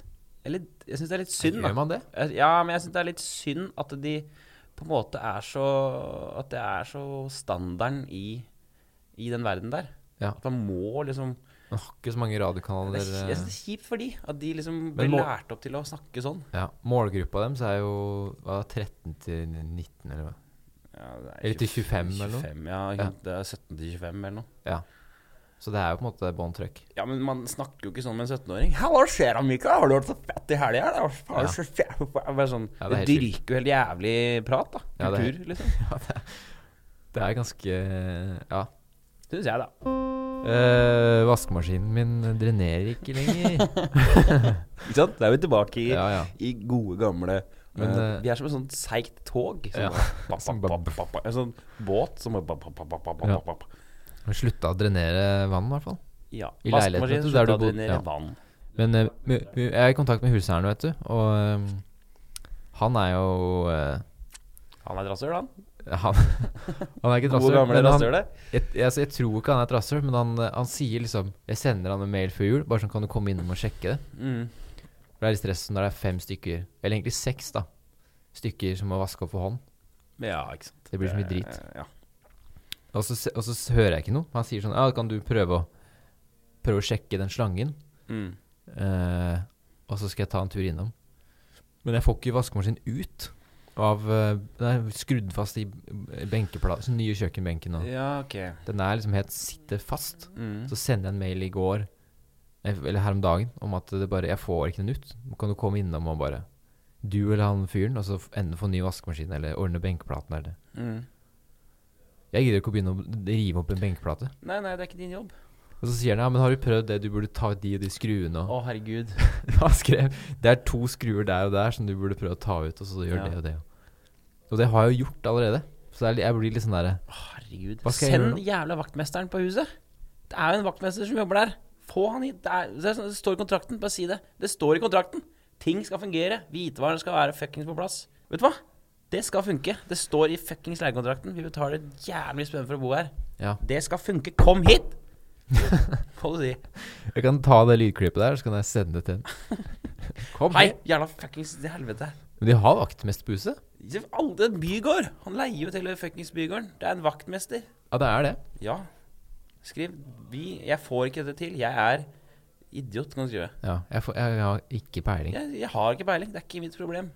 Speaker 3: Eller jeg syns det er litt synd. da.
Speaker 2: Gjør man det?
Speaker 3: Jeg- Ja, men jeg syns det er litt synd at de på en måte er så At det er så standarden i, i den verden der.
Speaker 2: Ja.
Speaker 3: At man må liksom
Speaker 2: Man har ikke så mange
Speaker 3: det
Speaker 2: radiokanaler. eh,
Speaker 3: er, Jeg syns det er kjipt for de At de liksom blir
Speaker 2: Men må-
Speaker 3: lært opp til å snakke sånn.
Speaker 2: eh, Ja. Målgruppa deres er jo hva, 13 til 19, eller hva?
Speaker 3: Ja, det er
Speaker 2: Eller til 25, eller noe?
Speaker 3: 25, ja,
Speaker 2: Ja.
Speaker 3: Det er 17 til 25 eller noe.
Speaker 2: Ja. Så det er jo på en måte bånn trøkk.
Speaker 3: Ja, men man snakker jo ikke sånn med en 17-åring. «Ja, Hva skjer da, Mikael? Har du vært så fett i helga? Det er så-
Speaker 2: Ja.
Speaker 3: så fett». Bare sånn
Speaker 2: Ja,
Speaker 3: Det
Speaker 2: det er helt
Speaker 3: dyrker jo helt jævlig prat, da.
Speaker 2: Ja, det er-
Speaker 3: Kultur, liksom.
Speaker 2: Det er ganske Ja.
Speaker 3: Syns jeg, da.
Speaker 2: Eh, vaskemaskinen min drenerer ikke lenger.
Speaker 3: Ikke sant? Da er vi tilbake i,
Speaker 2: ja, ja.
Speaker 3: i gode, gamle
Speaker 2: Men,
Speaker 3: eh,
Speaker 2: eh,
Speaker 3: Vi er som et sånt seigt tog. Som
Speaker 2: Ja.
Speaker 3: bare, bap,
Speaker 2: Som
Speaker 3: bap,
Speaker 2: bare-
Speaker 3: bap, bap, bap. En sånn båt som bare bap, bap, bap, bap, bap,
Speaker 2: Ja.
Speaker 3: bap.
Speaker 2: Har Slutta å drenere vann, i hvert fall.
Speaker 3: Ja.
Speaker 2: I
Speaker 3: Vaskemaskinen
Speaker 2: leiligheten der du
Speaker 3: slutta å
Speaker 2: bodde,
Speaker 3: drenere
Speaker 2: ja.
Speaker 3: vann.
Speaker 2: Men eh, mu- mu- jeg er i kontakt med huseieren, vet du. Og eh, han er jo eh,
Speaker 3: Han er et rasshøl, han.
Speaker 2: han, han er ikke et
Speaker 3: Gode,
Speaker 2: rasshøl.
Speaker 3: gamle
Speaker 2: men han-
Speaker 3: rasshøl.
Speaker 2: Jeg, jeg, altså, jeg tror ikke han er et rasshøl, men han, eh, han sier liksom Jeg sender han en mail før jul, bare sånn kan du komme innom og sjekke det.
Speaker 3: Mm.
Speaker 2: For det er litt stress når det er fem stykker, eller egentlig seks, da, stykker som må vaske opp for hånd.
Speaker 3: Ja, ikke sant.
Speaker 2: Det blir så mye drit.
Speaker 3: Eh, Ja.
Speaker 2: Og så, se- og så s- hører jeg ikke noe. Han sier sånn Ja, kan du prøve å Prøve å sjekke den slangen?
Speaker 3: Mm.
Speaker 2: Eh, og så skal jeg ta en tur innom. Men jeg får ikke vaskemaskinen ut av eh, Den er skrudd fast i benkeplaten. Den nye kjøkkenbenken nå.
Speaker 3: ja, ok.
Speaker 2: Den er liksom helt sitter fast.
Speaker 3: Mm.
Speaker 2: Så sender jeg en mail i går, eh, eller her om dagen, om at det bare Jeg får ikke den ut. Kan du komme innom og bare Du eller han fyren, og så f- enten få ny vaskemaskin eller ordne benkeplaten eller det.
Speaker 3: Mm.
Speaker 2: Jeg gidder ikke å begynne å rive opp en benkeplate.
Speaker 3: Nei, nei, det er ikke din jobb.
Speaker 2: Og så sier han ja, men har du prøvd det, du burde ta ut de og de skruene
Speaker 3: Å,
Speaker 2: og
Speaker 3: herregud.
Speaker 2: Han skrev det er to skruer der og der som du burde prøve å ta ut, og så gjør
Speaker 3: Ja.
Speaker 2: det og det. Og det har jeg jo gjort allerede. Så det er, li- jeg blir litt sånn derre
Speaker 3: Å, herregud.
Speaker 2: Hva skal jeg
Speaker 3: Send
Speaker 2: gjøre nå?
Speaker 3: jævla vaktmesteren på huset. Det er jo en vaktmester som jobber der. Få han hit. Det, er, det, er sånn- det står i kontrakten. Bare si det. Det står i kontrakten. Ting skal fungere. Hvitevarene skal være fuckings på plass. Vet du hva? Det skal funke. Det står i fuckings leiekontrakten. Vi betaler jævlig spenn for å bo her.
Speaker 2: Ja.
Speaker 3: Det skal funke. Kom hit! Får du si.
Speaker 2: Jeg kan ta det lydklippet der, så kan jeg sende det til henne. Kom
Speaker 3: Hei,
Speaker 2: hit.
Speaker 3: jævla fuckings til helvete.
Speaker 2: Men de har vaktmester på huset?
Speaker 3: Det er Aldri en bygård. Han leier jo til fuckings bygården. Det er en vaktmester.
Speaker 2: Ja, det er det.
Speaker 3: Ja. Skriv vi, 'Jeg får ikke dette til. Jeg er idiot', kan du skrive.
Speaker 2: Ja, jeg, får, jeg, jeg har ikke peiling.
Speaker 3: Jeg, jeg har ikke peiling. Det er ikke mitt problem.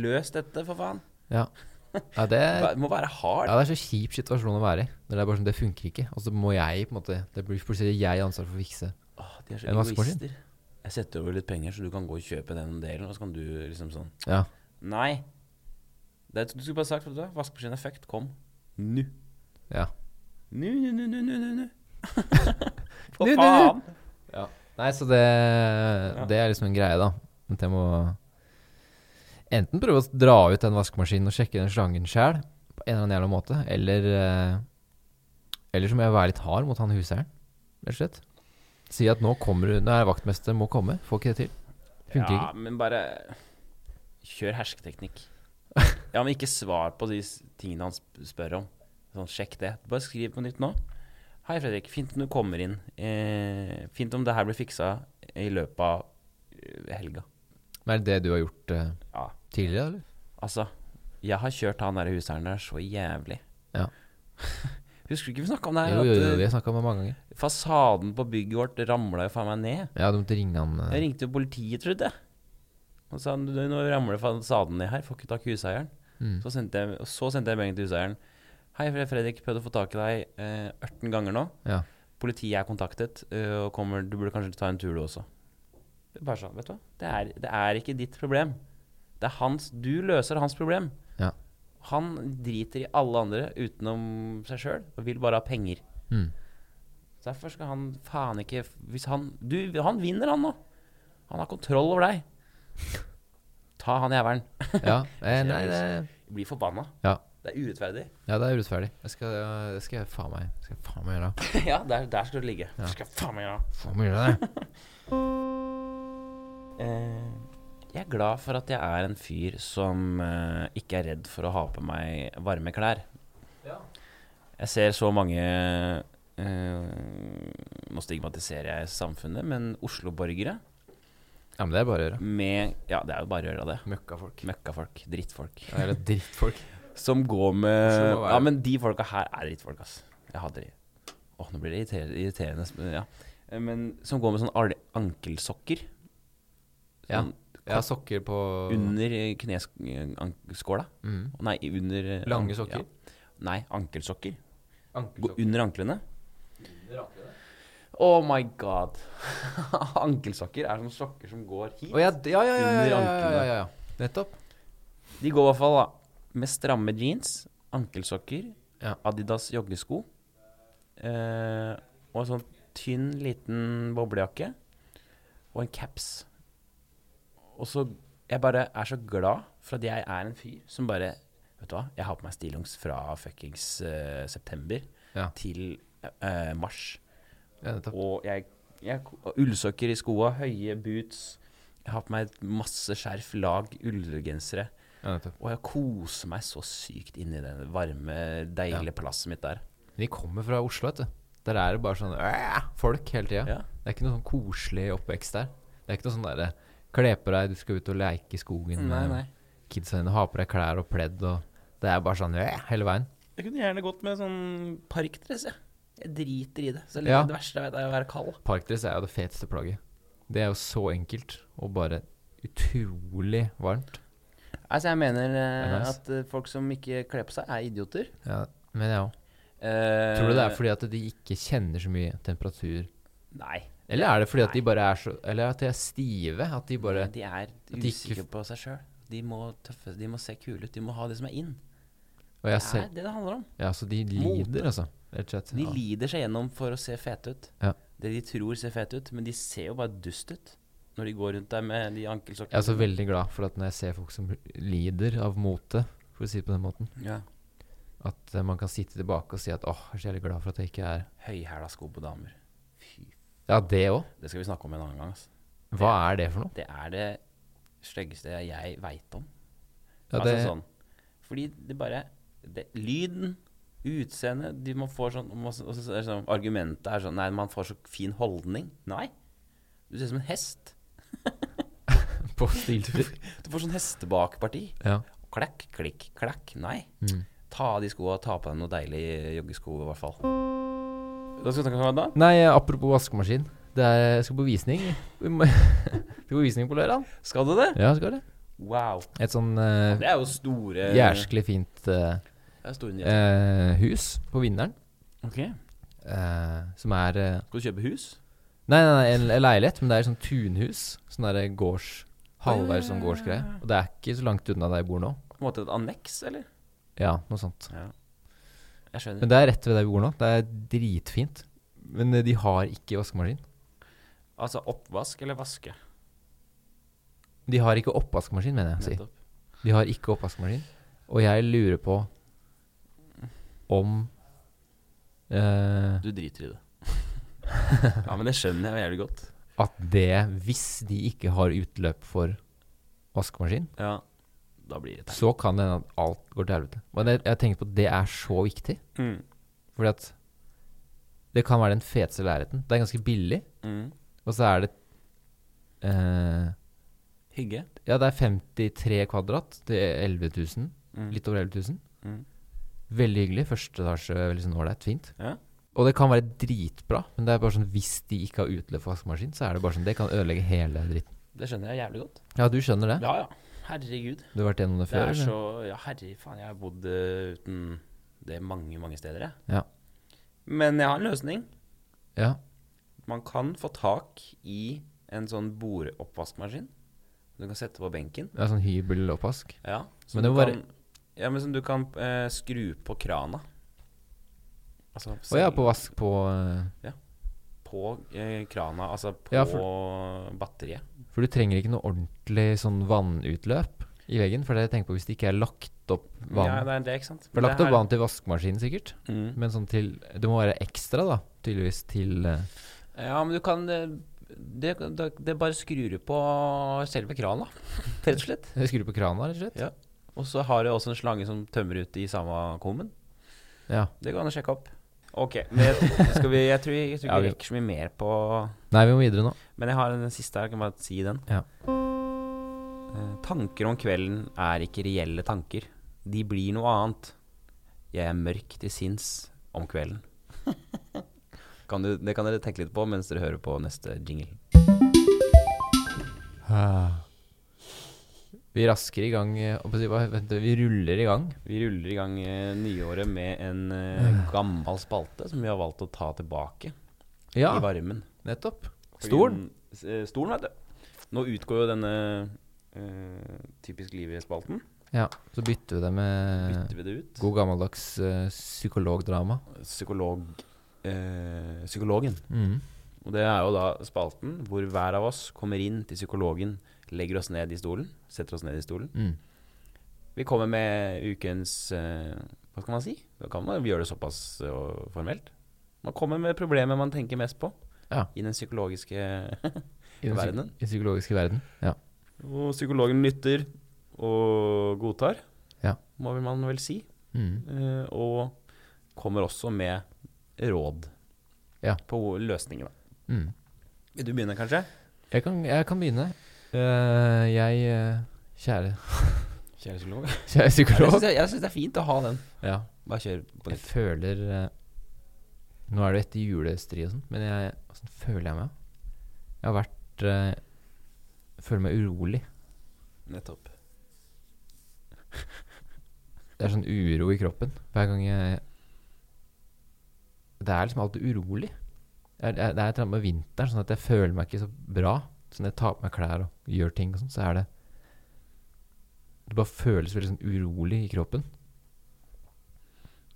Speaker 3: Løs dette, for faen.
Speaker 2: Ja, ja det er
Speaker 3: Det må være hard.
Speaker 2: Eh, ja, det er så kjip situasjon å være i. Når det er bare sånn, det funker ikke. Og så må jeg på en måte Det blir plutselig jeg ansvar for å fikse.
Speaker 3: Åh, de er så
Speaker 2: En vaskemaskin.
Speaker 3: egoister. Jeg setter over litt penger, så du kan gå og kjøpe den delen, og så kan du liksom sånn
Speaker 2: Ja.
Speaker 3: Nei. Det, er- du skulle bare sagt vet du hva, vaskemaskinen er fucked. Kom. Nu.
Speaker 2: ja.
Speaker 3: Nu, nu, nu, nu, nu, nu, nu.
Speaker 2: Nu, nu,
Speaker 3: For
Speaker 2: nu.
Speaker 3: faen!
Speaker 2: Nei, så det Det er liksom en greie, da. At jeg må enten prøve å dra ut den vaskemaskinen og sjekke den slangen sjæl, på en eller annen jævla måte, eller eh, Eller så må jeg være litt hard mot han huseieren, rett og slett. Si at nå kommer du Nå er jeg vaktmester, må komme. Får ikke det til. Funker
Speaker 3: Ja, men bare kjør hersketeknikk. Ja, men ikke svar på de s- tingene han sp- spør om. Sånn, sjekk det. Bare skriv på nytt nå. Hei, Fredrik. Fint om du kommer inn. Eh, fint om det her blir fiksa i løpet av eh, helga.
Speaker 2: ikke. Men er det det du har gjort eh,
Speaker 3: Ja.
Speaker 2: tidligere, eller?
Speaker 3: Altså, jeg har kjørt han der huseieren der så jævlig.
Speaker 2: Ja.
Speaker 3: Husker du ikke vi snakka om det her?
Speaker 2: jo, jo, jo,
Speaker 3: at,
Speaker 2: vi
Speaker 3: eh,
Speaker 2: har snakka om det mange ganger.
Speaker 3: Fasaden på bygget vårt ramla jo faen meg ned.
Speaker 2: Ja, du måtte ringe han eh,
Speaker 3: Jeg ringte jo politiet, trodde jeg. Og sa han, du, nå ramler fasaden ned her, får ikke tak i huseieren.
Speaker 2: Mm.
Speaker 3: Så sendte jeg, og så sendte jeg melding til huseieren. Hei, Fre- Fredrik. Prøvde å få tak i deg eh, 18 ganger nå.
Speaker 2: Ja.
Speaker 3: Politiet er kontaktet, eh, og kommer, du burde kanskje ta en tur, du også. Bare sånn, vet du hva? Det er, det er ikke ditt problem. Det er hans, du løser hans problem.
Speaker 2: Ja.
Speaker 3: Han driter i alle andre utenom seg sjøl, og vil bare ha penger.
Speaker 2: Mm.
Speaker 3: Så Derfor skal han faen ikke hvis han, du, han vinner, han nå. Han har kontroll over deg. Ta han jævelen.
Speaker 2: ja. Eh, nei, det,
Speaker 3: Blir forbanna.
Speaker 2: Ja.
Speaker 3: Det er urettferdig.
Speaker 2: ja, det er urettferdig. Det skal, det skal jeg faen meg Skal jeg faen meg gjøre.
Speaker 3: ja, der, der skal du ligge. Skal jeg faen meg gjøre.
Speaker 2: Faen meg gjøre det.
Speaker 3: Eh, jeg er glad for at jeg er en fyr som eh, ikke er redd for å ha på meg varme klær. Jeg ser så mange eh, Nå stigmatiserer jeg samfunnet, men Oslo-borgere
Speaker 2: Ja, men det er bare å gjøre.
Speaker 3: med Ja, det er jo bare å gjøre det.
Speaker 2: Møkkafolk.
Speaker 3: Møkkafolk. Drittfolk.
Speaker 2: Ja, Eller drittfolk.
Speaker 3: Som går med
Speaker 2: Oslo må være-
Speaker 3: Ja, men de folka her er drittfolk, ass. Jeg hater de. Åh, nå blir det irriterende, irriterende men ja. Eh, Men som går med sånne al- ankelsokker.
Speaker 2: Ja.
Speaker 3: Sånn
Speaker 2: Jeg har sokker på
Speaker 3: under eh, knes- eh, ank- skåla.
Speaker 2: mm.
Speaker 3: Nei, under eh,
Speaker 2: Lange
Speaker 3: ank-
Speaker 2: sokker?
Speaker 3: Ja. Nei, ankelsokker. Gå
Speaker 2: Ankelsokker.
Speaker 3: under anklene. Oh my god. Ankelsokker er sånne sokker som går hit.
Speaker 2: Å ja, d- ja, ja, ja, ja, ja,
Speaker 3: Under
Speaker 2: ja,
Speaker 3: anklene.
Speaker 2: ja, ja, ja. Nettopp.
Speaker 3: De går i hvert fall da med stramme jeans, ankelsokker,
Speaker 2: Ja.
Speaker 3: Adidas joggesko eh, og en sånn tynn, liten boblejakke og en caps. Og så Jeg bare er så glad for at jeg er en fyr som bare Vet du hva, jeg har på meg stillongs fra fuckings eh, september
Speaker 2: Ja.
Speaker 3: til eh, mars.
Speaker 2: Ja, nettopp.
Speaker 3: Og jeg, jeg og ullsokker i skoa, høye boots. Jeg har på meg masse skjerf, lag, ullgensere.
Speaker 2: Ja, nettopp.
Speaker 3: Og jeg koser meg så sykt inni det varme, deilige plasset mitt der.
Speaker 2: Vi kommer fra Oslo, vet du. Der er det bare sånn øh, folk hele tida.
Speaker 3: Ja.
Speaker 2: Det er ikke noe sånn koselig oppvekst der. Det er ikke noe sånn derre Kle på deg, du skal ut og leke i skogen.
Speaker 3: Nei,
Speaker 2: med
Speaker 3: nei.
Speaker 2: Kidsa dine har på deg klær og pledd og Det er bare sånn øh, hele veien.
Speaker 3: Jeg kunne gjerne gått med sånn parkdress, jeg. Jeg driter i det. Så
Speaker 2: Ja.
Speaker 3: Det verste jeg vet, er å være kald.
Speaker 2: Parkdress er jo det feteste plagget. Det er jo så enkelt og bare utrolig varmt.
Speaker 3: Altså, jeg mener eh,
Speaker 2: Det er nice.
Speaker 3: at eh, folk som ikke kler på seg, er idioter.
Speaker 2: Ja, men jeg òg.
Speaker 3: Eh,
Speaker 2: Tror du det er fordi at de ikke kjenner så mye temperatur?
Speaker 3: Eh, Nei.
Speaker 2: Eller er det fordi at de bare er så Eller at de er stive? At de bare
Speaker 3: De er
Speaker 2: de ikke-
Speaker 3: usikre på seg sjøl. De må tøffe, de må se kule ut. De må ha det som er in.
Speaker 2: Og jeg
Speaker 3: Det
Speaker 2: ser
Speaker 3: er det det handler om.
Speaker 2: Ja, så de
Speaker 3: Mote.
Speaker 2: lider, altså. Rett og slett.
Speaker 3: De
Speaker 2: Ja.
Speaker 3: lider seg gjennom for å se fete ut.
Speaker 2: Ja.
Speaker 3: Det de tror ser fete ut, men de ser jo bare dust ut når de går rundt der med de
Speaker 2: Jeg
Speaker 3: ankelsokkene.
Speaker 2: er så veldig glad for at når jeg ser folk som lider av mote, for å si det på den måten,
Speaker 3: ja.
Speaker 2: at eh, man kan sitte tilbake og si at åh, jeg er så jævlig glad for at jeg ikke er
Speaker 3: Høyhæla sko på damer. Fy.
Speaker 2: Ja, det òg.
Speaker 3: Det skal vi snakke om en annen gang. ass.
Speaker 2: Hva er det for noe?
Speaker 3: Det er det styggeste jeg veit om.
Speaker 2: Ja, det,
Speaker 3: altså sånn. Fordi det bare det, Lyden, utseendet de, Man får sånn og så- og så er det sånn, Argumentet er sånn Nei, man får så fin holdning. Nei. Du ser ut som en hest.
Speaker 2: på stiltur.
Speaker 3: Du får sånn hestebakparti.
Speaker 2: Ja.
Speaker 3: Klakk, klikk, klakk. Nei.
Speaker 2: Mm.
Speaker 3: Ta av de skoa, ta på deg noe deilig joggesko, i hvert fall. Da skal vi snakke om hva da?
Speaker 2: Nei, apropos vaskemaskin. Det er, jeg skal på visning. Vi må- skal på visning på lørdag.
Speaker 3: Skal du det?
Speaker 2: Ja, skal det.
Speaker 3: Wow.
Speaker 2: Et sånn eh,
Speaker 3: Det er jo store
Speaker 2: jærskelig fint eh,
Speaker 3: Det er store nyheter.
Speaker 2: eh, hus på Vinneren,
Speaker 3: Ok.
Speaker 2: eh, som er eh,
Speaker 3: Skal du kjøpe hus?
Speaker 2: Nei, nei, nei en, en leilighet, men det er sånn tunhus. Sånn der gårds Halvveis sånn gårdsgreie. Og det er ikke så langt unna der jeg bor nå.
Speaker 3: På en måte et anneks, eller?
Speaker 2: Ja, noe sånt.
Speaker 3: Jeg skjønner.
Speaker 2: Men det er rett ved der vi bor nå. Det er dritfint. Men eh, de har ikke vaskemaskin.
Speaker 3: altså oppvask eller vaske?
Speaker 2: De har ikke oppvaskmaskin, mener jeg. å
Speaker 3: Nettopp.
Speaker 2: Si. De har ikke oppvaskmaskin. Og jeg lurer på om eh,
Speaker 3: Du driter i det. ja, men det skjønner jeg jo jævlig godt.
Speaker 2: at det, hvis de ikke har utløp for vaskemaskin,
Speaker 3: Ja, da blir det teit.
Speaker 2: så kan det hende at alt går til helvete. Men det, jeg tenker på at det er så viktig.
Speaker 3: Mm.
Speaker 2: Fordi at det kan være den feteste leiligheten. Det er ganske billig,
Speaker 3: Mm.
Speaker 2: og så er det eh,
Speaker 3: Hygge.
Speaker 2: Ja, det er 53 kvadrat til 11 000.
Speaker 3: Mm.
Speaker 2: Litt over 11 000.
Speaker 3: Mm.
Speaker 2: Veldig hyggelig. Første etasje, veldig sånn ålreit. Fint.
Speaker 3: Ja.
Speaker 2: Og det kan være dritbra, men det er bare sånn hvis de ikke har utløp for vaskemaskin, så er det bare sånn Det kan ødelegge hele dritten.
Speaker 3: Det skjønner jeg jævlig godt.
Speaker 2: Ja, du skjønner det?
Speaker 3: Ja, ja. Herregud.
Speaker 2: Du har vært gjennom det
Speaker 3: Det
Speaker 2: før?
Speaker 3: er
Speaker 2: eller?
Speaker 3: så Ja, herre faen, jeg har bodd eh, uten Det er mange, mange steder, jeg.
Speaker 2: Ja.
Speaker 3: Men jeg har en løsning.
Speaker 2: Ja.
Speaker 3: Man kan få tak i en sånn bordoppvaskmaskin. Du kan sette på benken.
Speaker 2: Det er sånn hybeloppvask.
Speaker 3: Ja, som,
Speaker 2: Men det
Speaker 3: du,
Speaker 2: må
Speaker 3: kan, ja, men som du kan eh, skru på krana. Altså
Speaker 2: Og jeg
Speaker 3: selv-
Speaker 2: er på vask på eh,
Speaker 3: på eh, krana, altså på
Speaker 2: Ja,
Speaker 3: batteriet.
Speaker 2: For du trenger ikke noe ordentlig sånn vannutløp i veggen. For det jeg tenker på hvis det ikke er lagt opp
Speaker 3: Ja,
Speaker 2: vann.
Speaker 3: det er det, ikke sant?
Speaker 2: For det er lagt opp vann til vaskemaskinen, sikkert.
Speaker 3: Mm.
Speaker 2: Men sånn til Det må være ekstra, da. Tydeligvis til eh,
Speaker 3: Ja, men du kan eh, det, det, det bare skrur du på selve krana, rett og slett.
Speaker 2: Jeg skrur på krana, rett og slett.
Speaker 3: Ja. Og så har du også en slange som tømmer ut i samme kummen.
Speaker 2: Ja.
Speaker 3: Det går an å sjekke opp. Ok, men jeg, skal vi, jeg tror, jeg tror ikke
Speaker 2: Ja,
Speaker 3: vi
Speaker 2: vi-
Speaker 3: rekker så mye mer på
Speaker 2: Nei, vi må videre nå.
Speaker 3: Men jeg har en siste her, kan bare si den.
Speaker 2: Ja.
Speaker 3: Eh, Tanker om kvelden er ikke reelle tanker. De blir noe annet. Jeg er mørk til sinns om kvelden. kan du, det kan dere tenke litt på mens dere hører på neste jingle.
Speaker 2: Ah. Vi rasker i gang eh, hva skal jeg si, hva- vent, Vi ruller i gang.
Speaker 3: Vi ruller i gang eh, nyåret med en eh, gammel spalte som vi har valgt å ta tilbake
Speaker 2: Ja,
Speaker 3: i varmen.
Speaker 2: nettopp.
Speaker 3: Fordi
Speaker 2: Stolen.
Speaker 3: den- s- eh, Stolen, vet du. Nå utgår jo denne eh, Typisk livet-spalten.
Speaker 2: Ja, så bytter vi det med
Speaker 3: Bytter vi det ut?
Speaker 2: god gammeldags eh, psykologdrama.
Speaker 3: psykolog, eh, psykologen.
Speaker 2: Mm.
Speaker 3: Og det er jo da spalten hvor hver av oss kommer inn til psykologen, legger oss ned i stolen, setter oss ned i stolen.
Speaker 2: Mm.
Speaker 3: Vi kommer med ukens eh, Hva skal man si? Da kan man gjøre det såpass eh, formelt. Man kommer med problemet man tenker mest på
Speaker 2: Ja.
Speaker 3: i den psykologiske
Speaker 2: I den psy-
Speaker 3: Verdenen.
Speaker 2: I den psykologiske verden. Ja.
Speaker 3: Og psykologen lytter og godtar,
Speaker 2: Ja.
Speaker 3: må vel man vel si.
Speaker 2: Mm.
Speaker 3: Eh, og kommer også med råd
Speaker 2: Ja.
Speaker 3: på løsningene.
Speaker 2: Mm.
Speaker 3: Vil du begynne, kanskje?
Speaker 2: Jeg, kan, jeg kan begynne. Eh, jeg eh, Kjære,
Speaker 3: Kjære psykolog.
Speaker 2: kjære
Speaker 3: Jeg
Speaker 2: psykolog.
Speaker 3: syns det, jeg synes det er fint å ha den.
Speaker 2: Ja,
Speaker 3: Bare kjør på
Speaker 2: jeg
Speaker 3: nytt.
Speaker 2: føler eh, Nå er det etter julestri og sånn, men jeg, hvordan føler jeg meg? Jeg har vært eh, Føler meg urolig.
Speaker 3: Nettopp.
Speaker 2: Det er sånn uro i kroppen hver gang jeg Det er liksom alltid urolig. Jeg, jeg, det er et eller annet med vinteren, sånn at jeg føler meg ikke så bra. Så når jeg tar på meg klær og gjør ting og sånn, så er det Det bare føles veldig sånn urolig i kroppen.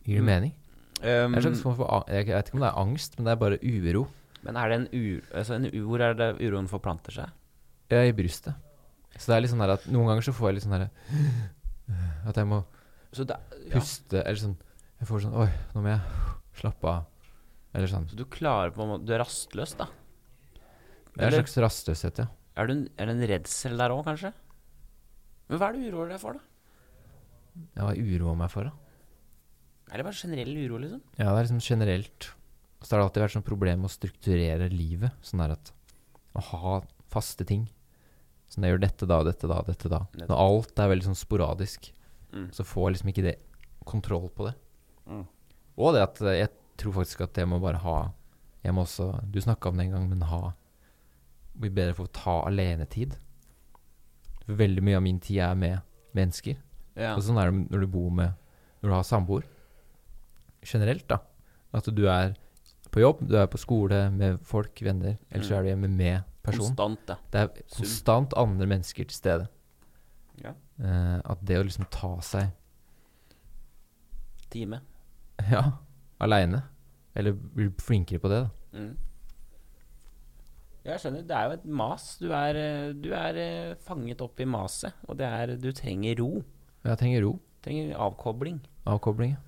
Speaker 2: Gir det
Speaker 3: Mm.
Speaker 2: mening? Det
Speaker 3: Um,
Speaker 2: er en slags form for, ang- jeg vet ikke om det er angst, men det er bare uro
Speaker 3: men er det en ur... Altså en, u- hvor er det uroen forplanter seg?
Speaker 2: ja, i brystet. Så det er litt sånn her at noen ganger så får jeg litt sånn her At jeg må
Speaker 3: Så det, ja.
Speaker 2: puste, eller sånn Jeg får sånn Oi, nå må jeg slappe av. Eller sånn.
Speaker 3: Så du klarer på en måte Du er rastløs, da?
Speaker 2: Det er en
Speaker 3: Eller-
Speaker 2: slags rastløshet, ja.
Speaker 3: Er, du, en- er det en redsel der òg, kanskje? Men hva er du uroer deg for, da?
Speaker 2: Ja, Hva jeg uroer meg for, da?
Speaker 3: Er det bare generell uro, liksom?
Speaker 2: Ja, det er liksom generelt. Så har det alltid vært sånn problem å strukturere livet. Sånn der at å ha faste ting. Sånn jeg gjør dette da, dette da, dette da.
Speaker 3: Nettopp.
Speaker 2: Når alt er veldig sånn sporadisk,
Speaker 3: Mm.
Speaker 2: så får jeg liksom ikke det kontroll på det.
Speaker 3: Mm.
Speaker 2: Og det at eh, jeg tror faktisk at jeg må bare ha Jeg må også Du snakka om det en gang, men ha Bli bedre for å ta alenetid. Veldig mye av min tid er med mennesker.
Speaker 3: Ja.
Speaker 2: Og sånn er det når du bor med Når du har samboer. Generelt, da. At du er på jobb, du er på skole med folk, venner. Eller så
Speaker 3: Mm.
Speaker 2: er du hjemme med person.
Speaker 3: Konstant, da.
Speaker 2: Det er konstant andre mennesker til stede.
Speaker 3: Ja.
Speaker 2: Eh, at det å liksom ta seg
Speaker 3: Time.
Speaker 2: Ja, aleine. Eller bli flinkere på det, da.
Speaker 3: Mm. Ja, Jeg skjønner. Det er jo et mas. Du er, eh, du er eh, fanget opp i maset. Og det er Du trenger ro.
Speaker 2: Men Jeg trenger ro.
Speaker 3: Trenger avkobling.
Speaker 2: Avkobling. ja.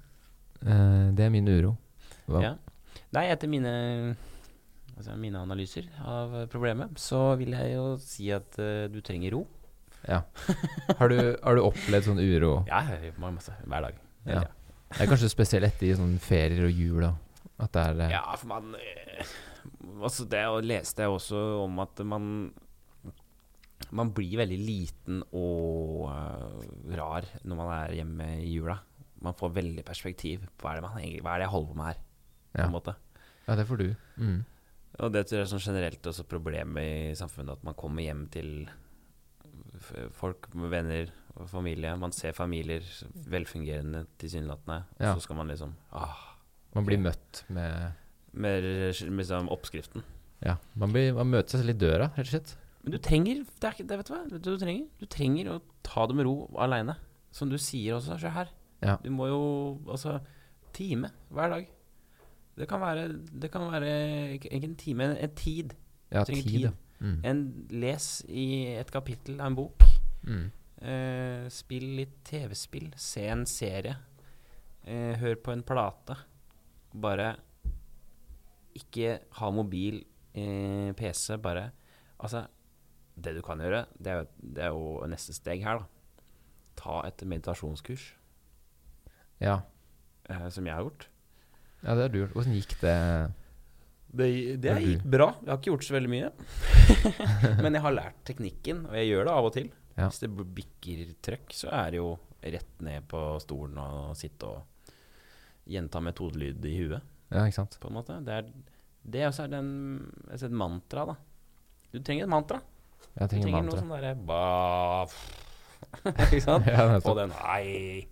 Speaker 2: Eh, det er min uro. Hva?
Speaker 3: Ja. Nei, etter mine, altså mine analyser av problemet, så vil jeg jo si at eh, du trenger ro.
Speaker 2: Ja. Har, du, har du opplevd sånn uro?
Speaker 3: Ja, jeg gjør masse hver dag.
Speaker 2: Ja. Det er kanskje spesielt etter i sånne ferier og jul, da. At det er eh,
Speaker 3: Ja, for man eh, Altså, det å- leste jeg også om at man Man blir veldig liten og eh, rar når man er hjemme i jula. Man får veldig perspektiv på hva er det, man, egentlig- hva er det jeg holder på med her. På
Speaker 2: Ja.
Speaker 3: en måte.
Speaker 2: Ja, det får du. Mm.
Speaker 3: Og det tror jeg er sånn generelt også problemet i samfunnet, at man kommer hjem til f- folk med venner og familie. Man ser familier velfungerende tilsynelatende, og
Speaker 2: Ja.
Speaker 3: så skal man liksom ah,
Speaker 2: Man blir møtt med
Speaker 3: Med med liksom oppskriften.
Speaker 2: Ja, man, blir, man møter seg selv i døra, rett og slett.
Speaker 3: Men du trenger det er, ikke- det Vet du hva? Vet du, hva du, trenger? du trenger å ta det med ro aleine. Som du sier også, se her.
Speaker 2: Ja.
Speaker 3: Du må jo altså Time hver dag. Det kan være, det kan være ikke ikke en time, en- en tid.
Speaker 2: Ja,
Speaker 3: Du trenger
Speaker 2: tid. ja. Mm.
Speaker 3: En les i et kapittel av en bok.
Speaker 2: Mm.
Speaker 3: Eh, spill litt TV-spill. Se en serie. Eh, hør på en plate. Bare ikke ha mobil, eh, PC, bare Altså, det du kan gjøre, det er, jo- det er jo neste steg her, da. Ta et meditasjonskurs,
Speaker 2: Ja.
Speaker 3: eh, som jeg har gjort.
Speaker 2: ja, det har du gjort. Åssen gikk det?
Speaker 3: Det,
Speaker 2: det
Speaker 3: gikk bra. Jeg har ikke gjort så veldig mye. Men jeg har lært teknikken, og jeg gjør det av og til.
Speaker 2: Ja.
Speaker 3: Hvis det bikker trøkk, så er det jo rett ned på stolen og sitte og gjenta metodelyd i huet,
Speaker 2: Ja, ikke sant?
Speaker 3: på en måte. Det er, det er også er den, altså et mantra, da. Du trenger et mantra.
Speaker 2: Jeg
Speaker 3: Du
Speaker 2: trenger
Speaker 3: trenger
Speaker 2: mantra.
Speaker 3: noe sånn derre ba Ikke sant?
Speaker 2: Ja,
Speaker 3: Og
Speaker 2: nettopp.
Speaker 3: den Nei.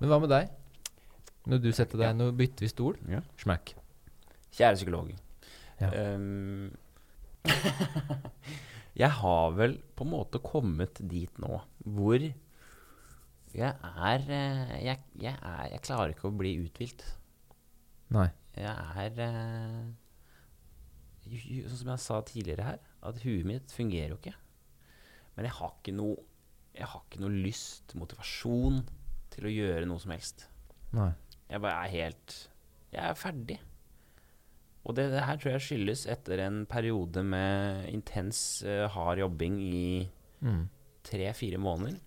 Speaker 2: Men hva med deg? Når du setter deg, nå bytter vi stol.
Speaker 3: Ja.
Speaker 2: Smack.
Speaker 3: Kjære psykolog.
Speaker 2: Ja.
Speaker 3: Ehm, jeg har vel på en måte kommet dit nå hvor jeg er eh, Jeg, jeg, er, jeg klarer ikke å bli uthvilt.
Speaker 2: Nei.
Speaker 3: Jeg er eh, ju- ju- Sånn som jeg sa tidligere her, at huet mitt fungerer jo ikke. Men jeg har ikke noe Jeg har ikke noe lyst, motivasjon, til å gjøre noe som helst.
Speaker 2: Nei.
Speaker 3: Jeg bare er helt Jeg er ferdig. Og det, det her tror jeg skyldes etter en periode med intens, eh, hard jobbing i
Speaker 2: Mm.
Speaker 3: tre-fire måneder.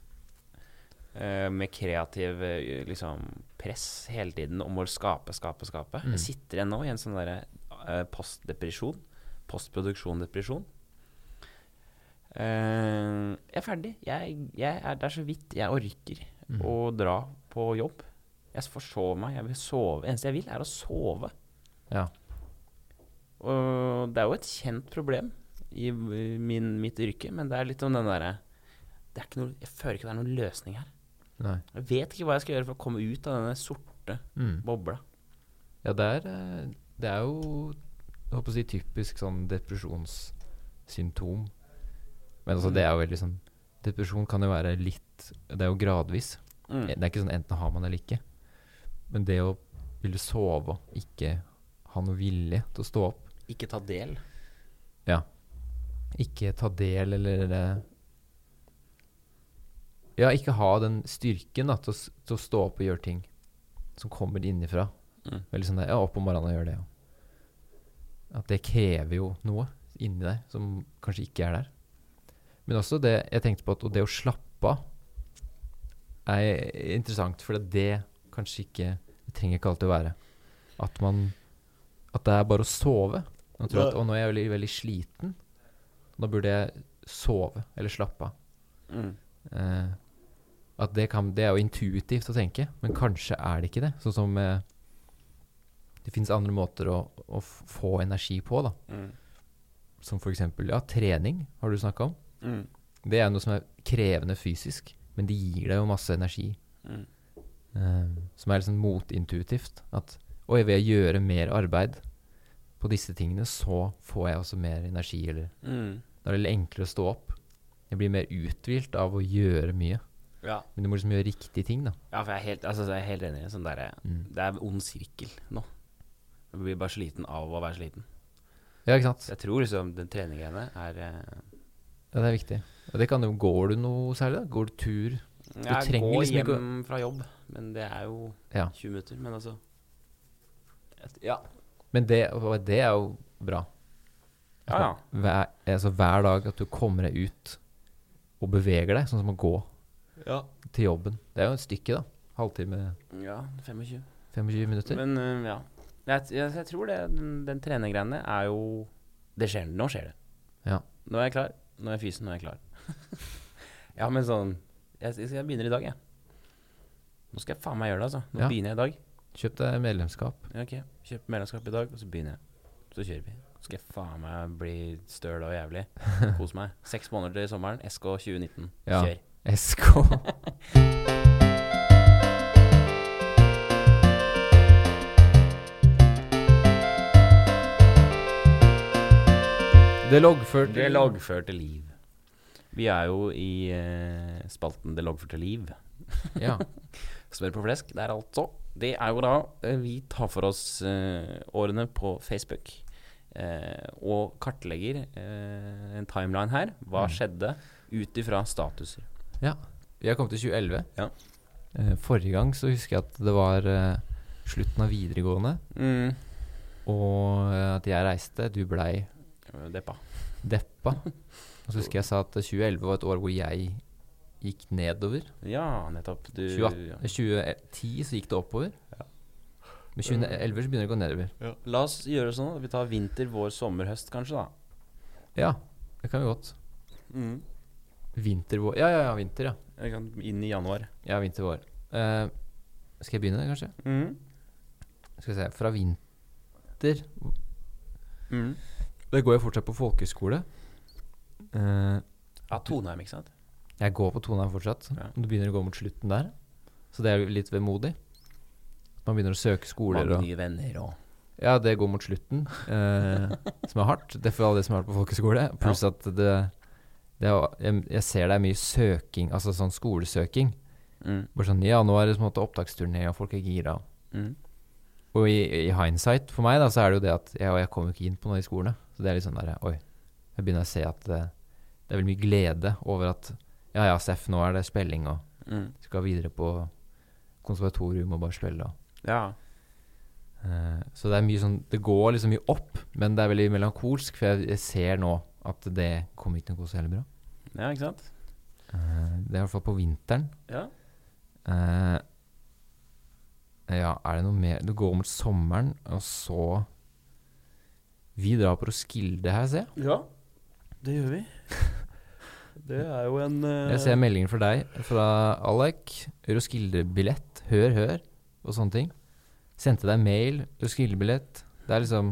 Speaker 3: eh, med kreativ eh, liksom, press hele tiden om å skape, skape, skape.
Speaker 2: Mm.
Speaker 3: Jeg sitter ennå i en sånn derre eh, postdepresjon. Postproduksjon-depresjon. Eh, jeg er ferdig. Jeg, jeg er der så vidt jeg orker
Speaker 2: Mm.
Speaker 3: å dra på jobb. Jeg forsov meg. Jeg vil sove. Eneste jeg vil, er å sove.
Speaker 2: Ja.
Speaker 3: Og det er jo et kjent problem i v- min, mitt yrke, men det er litt om den derre det er ikke noe, Jeg føler ikke det er noen løsning her.
Speaker 2: Nei.
Speaker 3: Jeg vet ikke hva jeg skal gjøre for å komme ut av denne sorte
Speaker 2: Mm.
Speaker 3: bobla.
Speaker 2: Ja, det er, eh, det er jo jeg håper å si, typisk sånn depresjonssymptom. Men altså, det er jo veldig sånn Depresjon kan jo være litt Det er jo gradvis. Det er ikke sånn enten har man det eller ikke. Men det å ville sove og ikke ha noe vilje til å stå opp,
Speaker 3: Ikke ta del.
Speaker 2: ikke ta del eller eh, Ja, ikke ha den styrken da, til, å, s- til å stå opp og gjøre ting som kommer innifra.
Speaker 3: Mm.
Speaker 2: Veldig sånn der, ja, opp om morgenen og gjøre det. Ja. At det krever jo noe inni deg som kanskje ikke er der. Men også det jeg tenkte på at det å slappe av er interessant, for det kanskje ikke Det trenger ikke alltid å være. At man At det er bare å sove. Man tror at, og nå er jeg veldig, veldig sliten. Da burde jeg sove eller slappe av.
Speaker 3: Mm,
Speaker 2: Eh, at det, kan, det er jo intuitivt å tenke, men kanskje er det ikke det. Sånn som eh, Det finnes andre måter å, å f- få energi på, da.
Speaker 3: mm,
Speaker 2: Som f.eks. Ja, trening har du snakka om.
Speaker 3: mm,
Speaker 2: Det er noe som er krevende fysisk, men det gir deg jo masse energi.
Speaker 3: Mm.
Speaker 2: Eh, som er liksom motintuitivt. At oi, ved å gjøre mer arbeid på disse tingene, så får jeg også mer energi, eller
Speaker 3: mm.
Speaker 2: da er det litt enklere å stå opp. Jeg blir mer uthvilt av å gjøre mye.
Speaker 3: Ja.
Speaker 2: Men du må liksom gjøre riktige ting, da.
Speaker 3: ja, for jeg er helt, altså, jeg er helt enig. Sånn der,
Speaker 2: Mm.
Speaker 3: Det er en ond sirkel nå. Jeg blir bare sliten av å være sliten.
Speaker 2: Ja, ikke sant?
Speaker 3: Så jeg tror liksom den treninggreiene er eh,
Speaker 2: Ja, det er viktig. Og det kan jo Går du noe særlig, da? Går du tur?
Speaker 3: Jeg
Speaker 2: trenger
Speaker 3: går
Speaker 2: liksom ikke å-
Speaker 3: hjem fra jobb, men det er jo
Speaker 2: Ja.
Speaker 3: 20 minutter. Men altså Et- Ja.
Speaker 2: Men det, og det er jo bra.
Speaker 3: Ja, ja.
Speaker 2: Hver, altså hver dag at du kommer deg ut og beveger deg, sånn som å gå
Speaker 3: Ja.
Speaker 2: til jobben. Det er jo et stykke, da. Halvtime,
Speaker 3: 25.
Speaker 2: 25 minutter.
Speaker 3: Men eh, ja. Jeg, t- jeg, jeg tror det, den, den trenergreiene er jo Det skjer, nå skjer det.
Speaker 2: Ja.
Speaker 3: Nå er jeg klar. Nå er jeg fysen, nå er jeg klar. ja, men sånn jeg, jeg, jeg begynner i dag, jeg. Nå skal jeg faen meg gjøre det, altså. Nå
Speaker 2: Ja.
Speaker 3: begynner jeg i dag.
Speaker 2: Kjøp deg medlemskap.
Speaker 3: Ja, ok, Kjøp medlemskap i dag, og så begynner jeg. Så kjører vi. Skal jeg faen meg bli støl og jævlig. Kos meg. Seks måneder til sommeren. SK 2019.
Speaker 2: Ja.
Speaker 3: Kjør.
Speaker 2: SK. Det loggførte
Speaker 3: Det loggførte liv. Vi er jo i eh, spalten Det loggførte liv.
Speaker 2: Ja.
Speaker 3: Smør på flesk, det er altså. Det er jo da eh, vi tar for oss eh, årene på Facebook. eh, og kartlegger eh, en timeline her. Hva skjedde ut ifra statuser?
Speaker 2: ja. Vi har kommet til 2011.
Speaker 3: Ja.
Speaker 2: Eh, Forrige gang så husker jeg at det var eh, slutten av videregående,
Speaker 3: Mm.
Speaker 2: og eh, at jeg reiste. Du blei
Speaker 3: Deppa.
Speaker 2: deppa. Og så husker jeg sa at 2011 var et år hvor jeg gikk nedover.
Speaker 3: Ja, nettopp. Du,
Speaker 2: 2018, 2010 så gikk det oppover. Men 2011 så begynner det å gå nedover.
Speaker 3: Ja. La oss gjøre sånn at vi tar vinter, vår, sommer, høst, kanskje, da.
Speaker 2: Ja, det kan vi godt.
Speaker 3: Mm.
Speaker 2: Vinter, vår Ja, ja, ja, vinter, ja.
Speaker 3: Ikke sant? Inn i januar.
Speaker 2: Ja, vinter, vår. Eh, skal jeg begynne, kanskje? Skal vi se Fra vinter
Speaker 3: Mm.
Speaker 2: Da går jeg fortsatt på folkehøyskole. Eh,
Speaker 3: Ja, Toneheim, ikke sant?
Speaker 2: jeg går på Toneheim fortsatt.
Speaker 3: Ja.
Speaker 2: Det begynner å gå mot slutten der. Så det er jo litt vemodig. Man begynner å søke skoler
Speaker 3: Mange
Speaker 2: og
Speaker 3: nye venner og
Speaker 2: Ja, det går mot slutten, eh, som er hardt. Det er for alle de som har vært på folkeskole. Pluss at det, det er, jeg, jeg ser det er mye søking, altså sånn skolesøking.
Speaker 3: mm.
Speaker 2: Bare sånn, ja, nå er det på en måte opptaksturné, og folk er gira.
Speaker 3: Mm.
Speaker 2: Og i, i hindsight for meg, da, så er det jo det at jeg, og jeg kommer jo ikke inn på noe i skolene. Så det er litt sånn der, oi. Jeg begynner å se at det, det er veldig mye glede over at ja, ja, Steff, nå er det spilling, og
Speaker 3: Mm.
Speaker 2: skal videre på konservatorium og bare spille. og
Speaker 3: Ja.
Speaker 2: Eh, Så det er mye sånn Det går liksom mye opp, men det er veldig melankolsk, for jeg, jeg ser nå at det kommer ikke til å gå så heller bra.
Speaker 3: ja, ikke sant?
Speaker 2: Eh, Det er i hvert fall på vinteren.
Speaker 3: Ja.
Speaker 2: Eh, ja, er det noe mer Det går mot sommeren, og så Vi drar på Roskilde her, ser jeg.
Speaker 3: det gjør vi. Det er jo en eh,
Speaker 2: Jeg ser meldinger fra deg, fra Alec. Roskilde-billett, hør, hør, og sånne ting. Sendte deg mail, Roskilde-billett. Det er liksom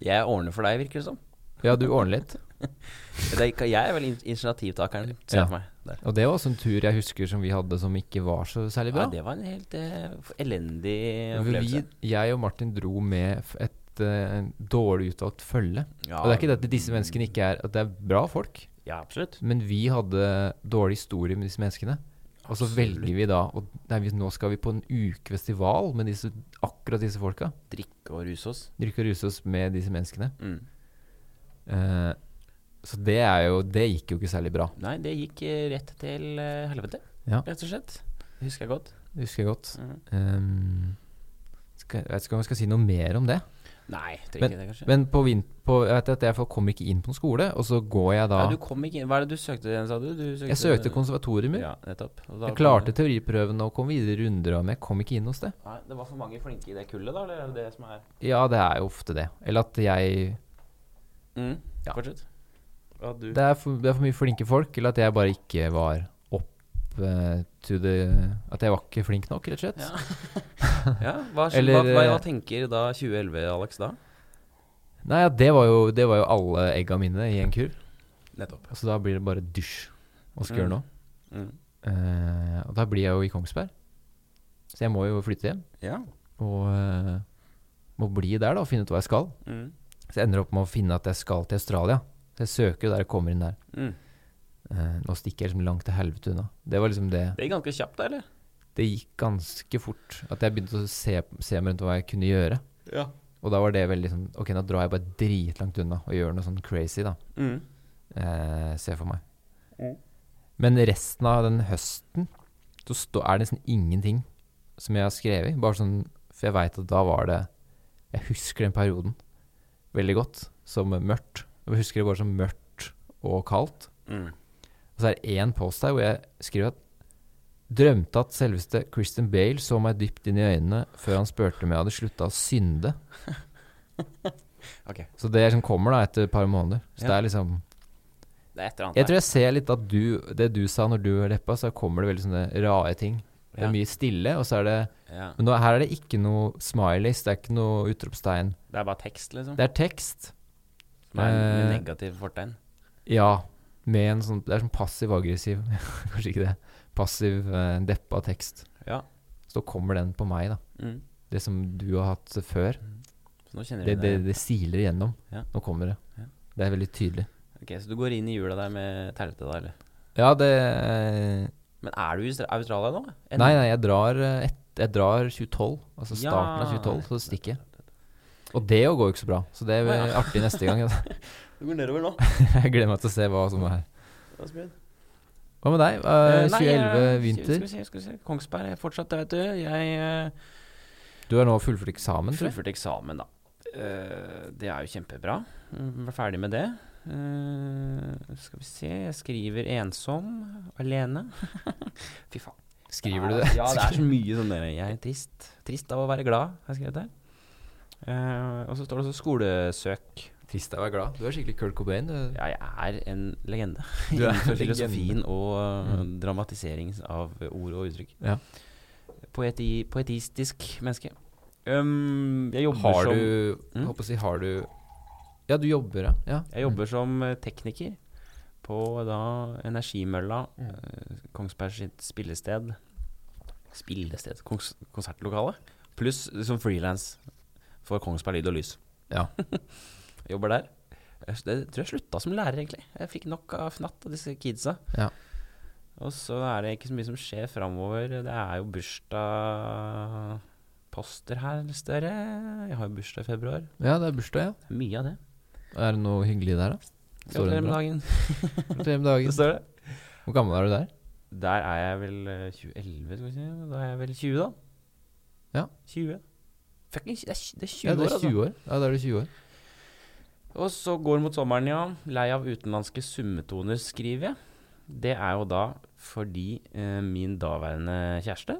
Speaker 3: Jeg ordner for deg, virker det som.
Speaker 2: Ja, du ordner litt.
Speaker 3: Det er, ikke- jeg er vel in- initiativtakeren, ser
Speaker 2: Ja.
Speaker 3: jeg for meg. Der.
Speaker 2: Og det var også en tur jeg husker som vi hadde som ikke var så særlig
Speaker 3: Ja,
Speaker 2: bra.
Speaker 3: det var en helt eh, elendig
Speaker 2: Hvor vi,
Speaker 3: opplevelse.
Speaker 2: jeg og Martin dro med f- et eh, dårlig utvalgt følge.
Speaker 3: Ja,
Speaker 2: Og det er ikke det at disse menneskene ikke er At det er bra folk,
Speaker 3: ja, absolutt.
Speaker 2: men vi hadde dårlig historie med disse menneskene. Og så velger vi da og nei, vi- Nå skal vi på en ukefestival med disse, akkurat disse folka.
Speaker 3: Drikke og ruse oss.
Speaker 2: Drikke og ruse oss med disse menneskene.
Speaker 3: Mm.
Speaker 2: Eh, så det er jo Det gikk jo ikke særlig bra.
Speaker 3: Nei, det gikk eh, rett til eh, helvete,
Speaker 2: Ja.
Speaker 3: rett og slett. Det husker jeg godt.
Speaker 2: Det husker jeg godt.
Speaker 3: Mm.
Speaker 2: Um, skal, jeg vet ikke om jeg skal si noe mer om det.
Speaker 3: Nei, trenger ikke det, kanskje.
Speaker 2: Men på vint... På, jeg vet at jeg kom ikke inn på en skole, og så går jeg da
Speaker 3: ja, du kom ikke inn. Hva er det du søkte igjen, sa du? du søkte,
Speaker 2: Jeg søkte konservatoriumer.
Speaker 3: Ja, nettopp. Og da
Speaker 2: Jeg
Speaker 3: kom
Speaker 2: klarte
Speaker 3: det.
Speaker 2: teoriprøven og kom videre i runder, og- men jeg kom ikke inn hos det.
Speaker 3: Nei, det var for mange flinke i det kullet, da? Eller er det det som er
Speaker 2: Ja, det er jo ofte det. Eller at jeg
Speaker 3: mm.
Speaker 2: Ja.
Speaker 3: Fortsett. Ja, du.
Speaker 2: Det er for, det er for mye flinke folk, eller at jeg bare ikke var opp eh, to the At jeg var ikke flink nok, rett og slett.
Speaker 3: Ja. Ja, hva,
Speaker 2: Eller,
Speaker 3: hva, hva, hva
Speaker 2: eh,
Speaker 3: tenker da 2011, Alex, da?
Speaker 2: Nei, ja, det var, jo, det var jo alle egga mine i en kurv.
Speaker 3: Nettopp.
Speaker 2: Så da blir det bare dusj. Hva skal jeg gjøre nå?
Speaker 3: Mm.
Speaker 2: Eh, og da blir jeg jo i Kongsberg. Så jeg må jo flytte hjem.
Speaker 3: Ja.
Speaker 2: Og eh, må bli der da og finne ut hva jeg skal.
Speaker 3: Mm.
Speaker 2: Så jeg ender opp med å finne at jeg skal til Australia. Så jeg søker jo der jeg kommer inn der.
Speaker 3: Mm.
Speaker 2: Eh, nå stikker jeg liksom langt til helvete unna. Det var liksom det.
Speaker 3: Det gikk ganske kjapt, da, eller?
Speaker 2: Det gikk ganske fort at jeg begynte å se, se meg rundt hva jeg kunne gjøre.
Speaker 3: Ja.
Speaker 2: Og da var det veldig sånn Ok, nå drar jeg bare dritlangt unna og gjør noe sånn crazy, da.
Speaker 3: Mm.
Speaker 2: Eh, ser jeg for meg.
Speaker 3: Mm.
Speaker 2: Men resten av den høsten så stå, er det nesten ingenting som jeg har skrevet. Bare sånn, for jeg veit at da var det Jeg husker den perioden veldig godt som mørkt. Jeg husker det bare som mørkt og kaldt.
Speaker 3: Mm.
Speaker 2: Og så er det én post her hvor jeg skriver at Drømte at selveste Christian Bale så meg dypt inn i øynene før han spurte om jeg hadde slutta å synde.
Speaker 3: Ok.
Speaker 2: Så det som kommer da etter et par måneder. Så
Speaker 3: Ja.
Speaker 2: det er liksom
Speaker 3: Det er et eller annet
Speaker 2: Jeg tror jeg ser litt at du Det du sa når du er deppa, så kommer det veldig sånne rare ting. Det
Speaker 3: Ja.
Speaker 2: er mye stille, og så er det
Speaker 3: der. Ja.
Speaker 2: Men nå, her er det ikke noe smileys, det er ikke noe utropstegn.
Speaker 3: Det er bare tekst, liksom.
Speaker 2: Det er tekst.
Speaker 3: Med, med
Speaker 2: Eh,
Speaker 3: negativ fortegn.
Speaker 2: Ja. Med en sånn Det er sånn passiv-aggressiv Kanskje ikke det. Passiv, eh, deppa tekst.
Speaker 3: Ja.
Speaker 2: Så kommer den på meg, da.
Speaker 3: Mm.
Speaker 2: Det som du har hatt før.
Speaker 3: Så nå kjenner
Speaker 2: Det,
Speaker 3: du
Speaker 2: det,
Speaker 3: deg
Speaker 2: det siler igjennom.
Speaker 3: Ja.
Speaker 2: Nå kommer det.
Speaker 3: Ja.
Speaker 2: Det er veldig tydelig.
Speaker 3: Ok, Så du går inn i jula der med teltet, da, eller?
Speaker 2: Ja, det eh,
Speaker 3: Men er du i Austra- Australia nå? Eller?
Speaker 2: Nei, nei, jeg drar, eh, et, jeg drar 2012. Altså
Speaker 3: Ja.
Speaker 2: starten av 2012, så stikker jeg. Og det jo går jo ikke så bra, så det
Speaker 3: Å,
Speaker 2: blir
Speaker 3: ja.
Speaker 2: artig neste gang.
Speaker 3: Du går nedover nå.
Speaker 2: Jeg gleder meg til å se hva som er.
Speaker 3: Asbjørn.
Speaker 2: Hva med deg? Eh,
Speaker 3: Eh, nei,
Speaker 2: 2011
Speaker 3: jeg- Skal
Speaker 2: vinter.
Speaker 3: vi se, skal vi se. Kongsberg er fortsatt der, vet du. Jeg eh,
Speaker 2: Du har nå fullført eksamen, tror jeg.
Speaker 3: fullførte eksamen, da. Eh, det er jo kjempebra.
Speaker 2: Mhm.
Speaker 3: Mm, Var ferdig med det. Eh, skal vi se Jeg skriver ensom, alene. Fy faen.
Speaker 2: Skriver
Speaker 3: Ja,
Speaker 2: du det?
Speaker 3: Ja, det er så mye sånn der Jeg er trist. Trist av å være glad, har jeg skrevet der. Eh, og så står det også skolesøk.
Speaker 2: Trist av å være glad. Du er skikkelig Kurt Cobain. Du.
Speaker 3: Ja, jeg er en legende
Speaker 2: Du er
Speaker 3: innenfor
Speaker 2: en legende.
Speaker 3: filosofien og eh,
Speaker 2: Mm.
Speaker 3: dramatisering av ord og uttrykk.
Speaker 2: Ja.
Speaker 3: Poeti, poetistisk menneske. Um, jeg jobber
Speaker 2: Har
Speaker 3: som
Speaker 2: du
Speaker 3: Mm?
Speaker 2: Håper å si, har du Ja, du jobber, ja. ja.
Speaker 3: Jeg jobber som eh, tekniker på da Energimølla,
Speaker 2: Mm.
Speaker 3: eh, Kongsberg sitt spillested. Spillested Kongs Konsertlokale. Pluss som frilans for Kongsberg Lyd og Lys.
Speaker 2: Ja.
Speaker 3: Jeg jobber der. Jeg s- jeg tror jeg slutta som lærer, egentlig. Jeg fikk nok av fnatt av disse kidsa.
Speaker 2: Ja.
Speaker 3: Og så er det ikke så mye som skjer framover. Det er jo bursdagsposter her, Støre. Jeg har jo bursdag i februar.
Speaker 2: Mm. Ja, det er bursdag, ja.
Speaker 3: Det er Mye av det.
Speaker 2: Er det noe hyggelig der, da? Står det
Speaker 3: Gratulerer med
Speaker 2: bra?
Speaker 3: dagen.
Speaker 2: Gratulerer med dagen.
Speaker 3: Støre.
Speaker 2: Hvor gammel er du der?
Speaker 3: Der er jeg vel eh, 2011, skal vi si. Da er jeg vel 20, da.
Speaker 2: Ja.
Speaker 3: 20. Fucking, tj- det er tj- det er 20
Speaker 2: Ja, det
Speaker 3: år,
Speaker 2: er
Speaker 3: altså.
Speaker 2: 20 år. Ja, da er du 20 år.
Speaker 3: Og så går det mot sommeren, ja. Lei av utenlandske summetoner, skriver jeg. Det er jo da fordi eh, min daværende kjæreste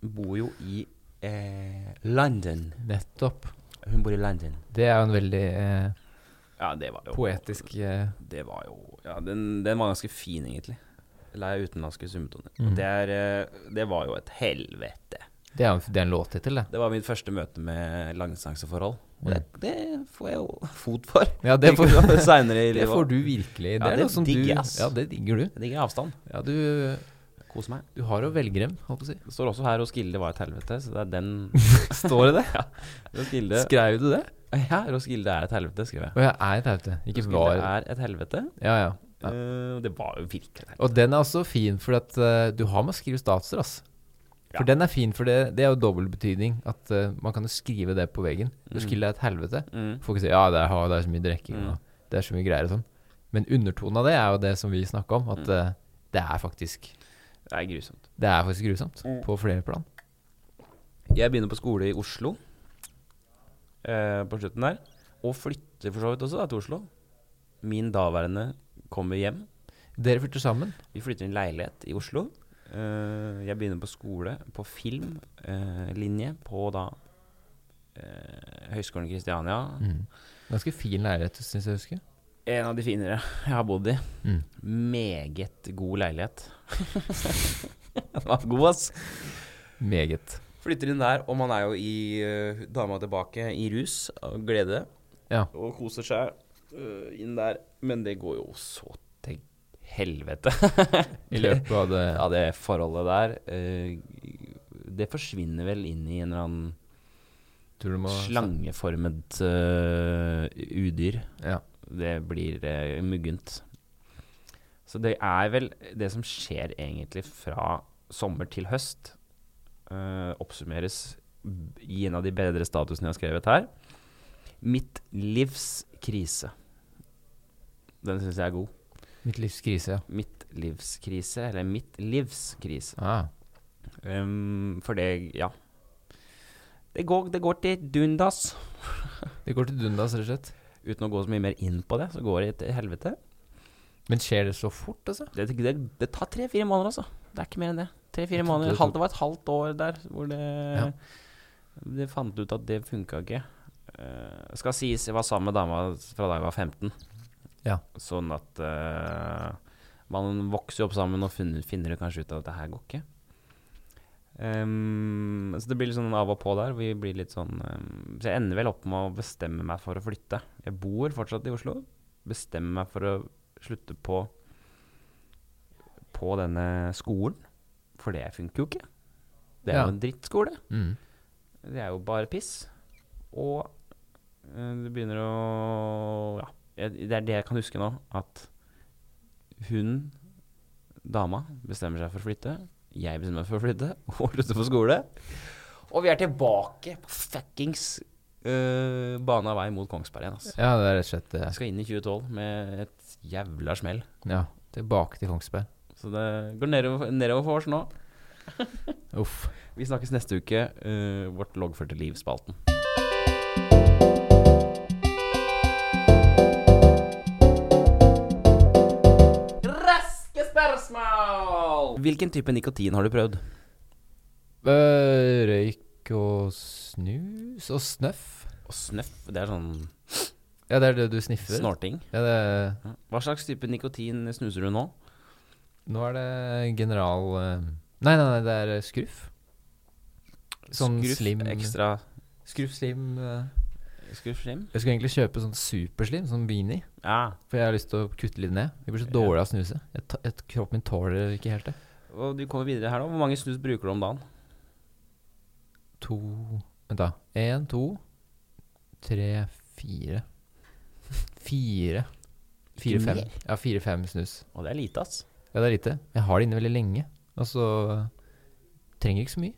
Speaker 3: bor jo i eh, London.
Speaker 2: Nettopp.
Speaker 3: Hun bor i London.
Speaker 2: Det er jo en veldig eh,
Speaker 3: Ja, det var jo
Speaker 2: poetisk eh,
Speaker 3: Det var jo Ja, den, den var ganske fin, egentlig. Lei av utenlandske summetoner.
Speaker 2: Mm.
Speaker 3: Det, er, eh, det var jo et helvete.
Speaker 2: Det er jo en, det er en låttittel, det.
Speaker 3: Det var mitt første møte med langdistanseforhold. Og det, det får jeg jo fot for.
Speaker 2: Ja, det får,
Speaker 3: Seinere i
Speaker 2: det
Speaker 3: livet.
Speaker 2: får du virkelig.
Speaker 3: Ja,
Speaker 2: Det er
Speaker 3: det
Speaker 2: noe som du
Speaker 3: digger jeg, ass.
Speaker 2: Ja, det digger du.
Speaker 3: Jeg digger avstand.
Speaker 2: Ja, du,
Speaker 3: Koser meg.
Speaker 2: du har jo velgrem, holdt på å si.
Speaker 3: Det står også her Roskilde var et helvete, så det er den
Speaker 2: Står det det?
Speaker 3: Roskilde
Speaker 2: Skrev du det?
Speaker 3: Ja, Roskilde er et helvete, skrev jeg.
Speaker 2: Å, jeg er et haute. Ikke
Speaker 3: Roskilde
Speaker 2: var
Speaker 3: er et helvete.
Speaker 2: Ja, ja.
Speaker 3: Eh, Og det var jo virkelig et helvete.
Speaker 2: Og den er også fin, for at eh, du har med å skrive statser, ass. For den er fin, for det, det er jo dobbel betydning. At eh, man kan jo skrive det på veggen. Roskilde er et helvete.
Speaker 3: Mm.
Speaker 2: Folk sier ja, det er, det er så mye drikking
Speaker 3: Mm.
Speaker 2: og det er så mye greier og sånn. Men undertonen av det er jo det som vi snakka om, at
Speaker 3: Mm.
Speaker 2: eh, det er faktisk
Speaker 3: Det er grusomt.
Speaker 2: Det er faktisk grusomt.
Speaker 3: Mm.
Speaker 2: På flere plan.
Speaker 3: Jeg begynner på skole i Oslo eh, på slutten der. Og flytter for så vidt også da, til Oslo. Min daværende kommer hjem.
Speaker 2: Dere flytter sammen.
Speaker 3: Vi flytter i en leilighet i Oslo. Eh, jeg begynner på skole på filmlinje på da eh, Høgskolen Kristiania.
Speaker 2: Mm. Ganske fin leilighet, syns jeg å huske.
Speaker 3: En av de finere jeg har bodd i.
Speaker 2: Mm.
Speaker 3: Meget god leilighet. Den var god, ass.
Speaker 2: Meget.
Speaker 3: Flytter inn der, og man er jo i eh, dama tilbake i rus av glede.
Speaker 2: Ja.
Speaker 3: Og koser seg eh, inn der. Men det går jo så til helvete.
Speaker 2: I løpet av det
Speaker 3: ja, Eh, det forholdet der eh, Det forsvinner vel inn i en eller annen
Speaker 2: Tror du må
Speaker 3: slangeformet eh, udyr.
Speaker 2: Ja.
Speaker 3: Det blir eh, muggent. Så det er vel det som skjer egentlig fra sommer til høst. eh, oppsummeres b- i en av de bedre statusene jeg har skrevet her. Mitt livs krise. Den syns jeg er god.
Speaker 2: Mitt livs krise, ja.
Speaker 3: Mitt livs krise, eller mitt livs krise.
Speaker 2: Ah.
Speaker 3: Ehm, for det, ja. Det går, det går til dundas.
Speaker 2: Det går til dundas, rett og slett.
Speaker 3: Uten å gå så mye mer inn på det, så går det til helvete.
Speaker 2: Men skjer det så fort, altså?
Speaker 3: Det, det, det tar tre-fire måneder, altså. Det er ikke mer enn det. Tre-fire
Speaker 2: Jeg trodde
Speaker 3: måneder.
Speaker 2: det
Speaker 3: Halv, det var et halvt år der hvor det
Speaker 2: Ja.
Speaker 3: Det fant ut at det funka ikke. Eh, skal sies, jeg var sammen med dama fra da jeg var 15.
Speaker 2: Ja.
Speaker 3: Sånn at eh, man vokser jo opp sammen og finner, finner jo kanskje ut at det her går ikke. Ehm, så det blir litt sånn av og på der. Vi blir litt sånn ehm, Så jeg ender vel opp med å bestemme meg for å flytte. Jeg bor fortsatt i Oslo. Bestemmer meg for å slutte på På denne skolen. For det funker jo ikke. Det er
Speaker 2: Ja.
Speaker 3: jo en drittskole.
Speaker 2: Mm.
Speaker 3: Det er jo bare piss. Og eh, det begynner å Ja, jeg- det er det jeg kan huske nå. At hun, dama, bestemmer seg for å flytte. Jeg bestemmer meg for å flytte og slutter på skole. Og vi er tilbake på fuckings uh, bana vei mot Kongsberg igjen, altså.
Speaker 2: Ja, det er rett og slett eh,
Speaker 3: Jeg
Speaker 2: det.
Speaker 3: skal inn i 2012 med et jævla smell.
Speaker 2: Ja. Tilbake til Kongsberg.
Speaker 3: Så det går nedover, nedover for oss nå.
Speaker 2: Uff.
Speaker 3: Vi snakkes neste uke. eh, vårt loggførte liv-spalten. Raske spørsmål! Hvilken type nikotin har du prøvd?
Speaker 2: Eh, røyk og snus og snøff.
Speaker 3: Og snøff, det er sånn
Speaker 2: Ja, det er det du sniffer?
Speaker 3: snorting.
Speaker 2: Ja, det er,
Speaker 3: Hva slags type nikotin snuser du nå?
Speaker 2: nå er det general eh, Nei, nei, nei, det er eh, skruff. Sånn
Speaker 3: Skruff,
Speaker 2: slim
Speaker 3: Ekstra
Speaker 2: Skruff slim eh.
Speaker 3: skruff slim?
Speaker 2: Jeg skulle egentlig kjøpe sånn superslim, sånn beanie.
Speaker 3: Ja.
Speaker 2: For jeg har lyst til å kutte litt ned. Jeg blir så
Speaker 3: Ja.
Speaker 2: dårlig av å snuse. Jeg ta- jeg- Kroppen min tåler ikke helt det.
Speaker 3: Og du kommer videre her nå. Hvor mange snus bruker du om dagen?
Speaker 2: To Vent, da. Én, to, tre, fire. Fire.
Speaker 3: Ikke
Speaker 2: Fire-fem.
Speaker 3: mer?
Speaker 2: Ja, fire-fem snus.
Speaker 3: Og det er lite, ass.
Speaker 2: Ja, det er lite. Jeg har det inne veldig lenge. Altså Trenger ikke så mye.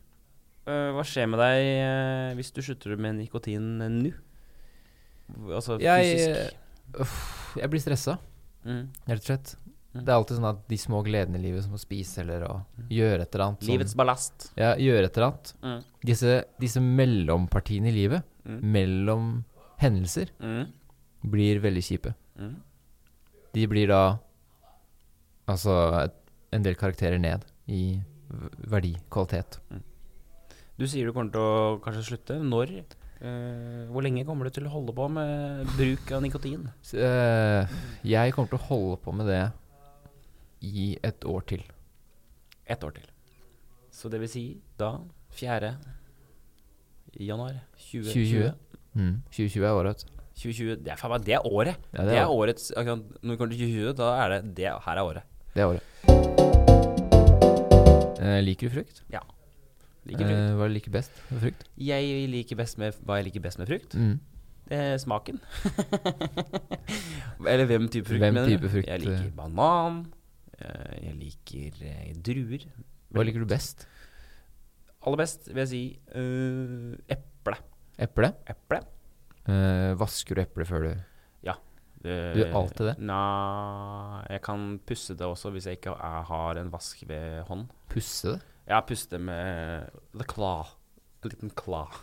Speaker 3: Eh, hva skjer med deg eh, hvis du slutter med nikotin eh, nå? Altså
Speaker 2: Jeg,
Speaker 3: fysisk.
Speaker 2: Uff, jeg blir stressa,
Speaker 3: Mm.
Speaker 2: rett og slett.
Speaker 3: Mm. Mm.
Speaker 2: Det er alltid sånn at de små gledene i livet, som å spise eller å gjøre et eller annet som-
Speaker 3: sånn. Livets ballast.
Speaker 2: Ja, gjøre et eller annet.
Speaker 3: Mm.
Speaker 2: Disse, disse mellompartiene i livet,
Speaker 3: Mm.
Speaker 2: mellom hendelser,
Speaker 3: Mm.
Speaker 2: blir veldig kjipe.
Speaker 3: Mm.
Speaker 2: De blir da altså et- en del karakterer ned i v- verdi, kvalitet.
Speaker 3: Du sier du kommer til å kanskje slutte. Når? Eh, hvor lenge kommer du til å holde på med bruk av nikotin?
Speaker 2: Så, eh, jeg kommer til å holde på med det i et år til.
Speaker 3: Ett år til. Så det vil si da 4. januar 2020.
Speaker 2: 2020. Mm. 2020 er året.
Speaker 3: 2020. Det er faen meg det er året!
Speaker 2: Ja,
Speaker 3: det, er
Speaker 2: året.
Speaker 3: årets akkurat Når vi kommer til 2020, da er det det her er året.
Speaker 2: Det er året. Eh, liker du frukt?
Speaker 3: Liker frukt.
Speaker 2: Eh, hva liker du best med frukt?
Speaker 3: Jeg liker best med hva jeg liker best med frukt.
Speaker 2: Mm.
Speaker 3: Det er smaken. Eller hvem type frukt,
Speaker 2: Hvem
Speaker 3: mener
Speaker 2: type frukt,
Speaker 3: Jeg
Speaker 2: eh.
Speaker 3: liker banan. eh, Jeg liker eh, druer.
Speaker 2: Hva liker du best?
Speaker 3: Aller best vil jeg si eh, eple.
Speaker 2: Eple?
Speaker 3: Eple.
Speaker 2: Eh, vasker du eple før du
Speaker 3: Eh,
Speaker 2: Du gjør alltid det?
Speaker 3: Nei, jeg kan pusse det også hvis jeg ikke er- har en vask ved hånd.
Speaker 2: pusser det?
Speaker 3: Jeg har pusset det med the claw. En liten claw.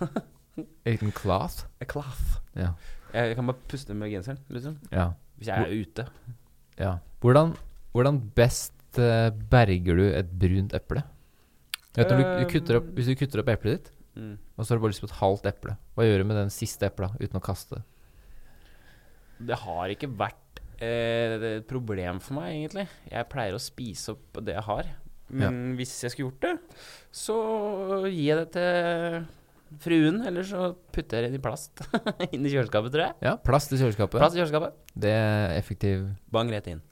Speaker 2: En liten cloth?
Speaker 3: A cloth.
Speaker 2: Ja.
Speaker 3: Jeg kan bare puste med genseren, liksom.
Speaker 2: ja.
Speaker 3: Hvis jeg er ute.
Speaker 2: Ja. Hvordan, hvordan best eh, berger du et brunt eple? Jeg vet, når du, du kutter opp,
Speaker 3: Um.
Speaker 2: hvis du kutter opp eplet ditt,
Speaker 3: Mm.
Speaker 2: og så har du bare lyst på et halvt eple, hva gjør du med den siste epla uten å kaste det?
Speaker 3: Det har ikke vært eh, et problem for meg, egentlig. Jeg pleier å spise opp det jeg har. Men hvis jeg skulle gjort det, så gir jeg det til fruen, eller så putter jeg det inn i plast. inn i kjøleskapet, tror jeg.
Speaker 2: Ja, plast i kjøleskapet.
Speaker 3: Plast i kjøleskapet.
Speaker 2: Det er effektiv.
Speaker 3: Bang rett inn.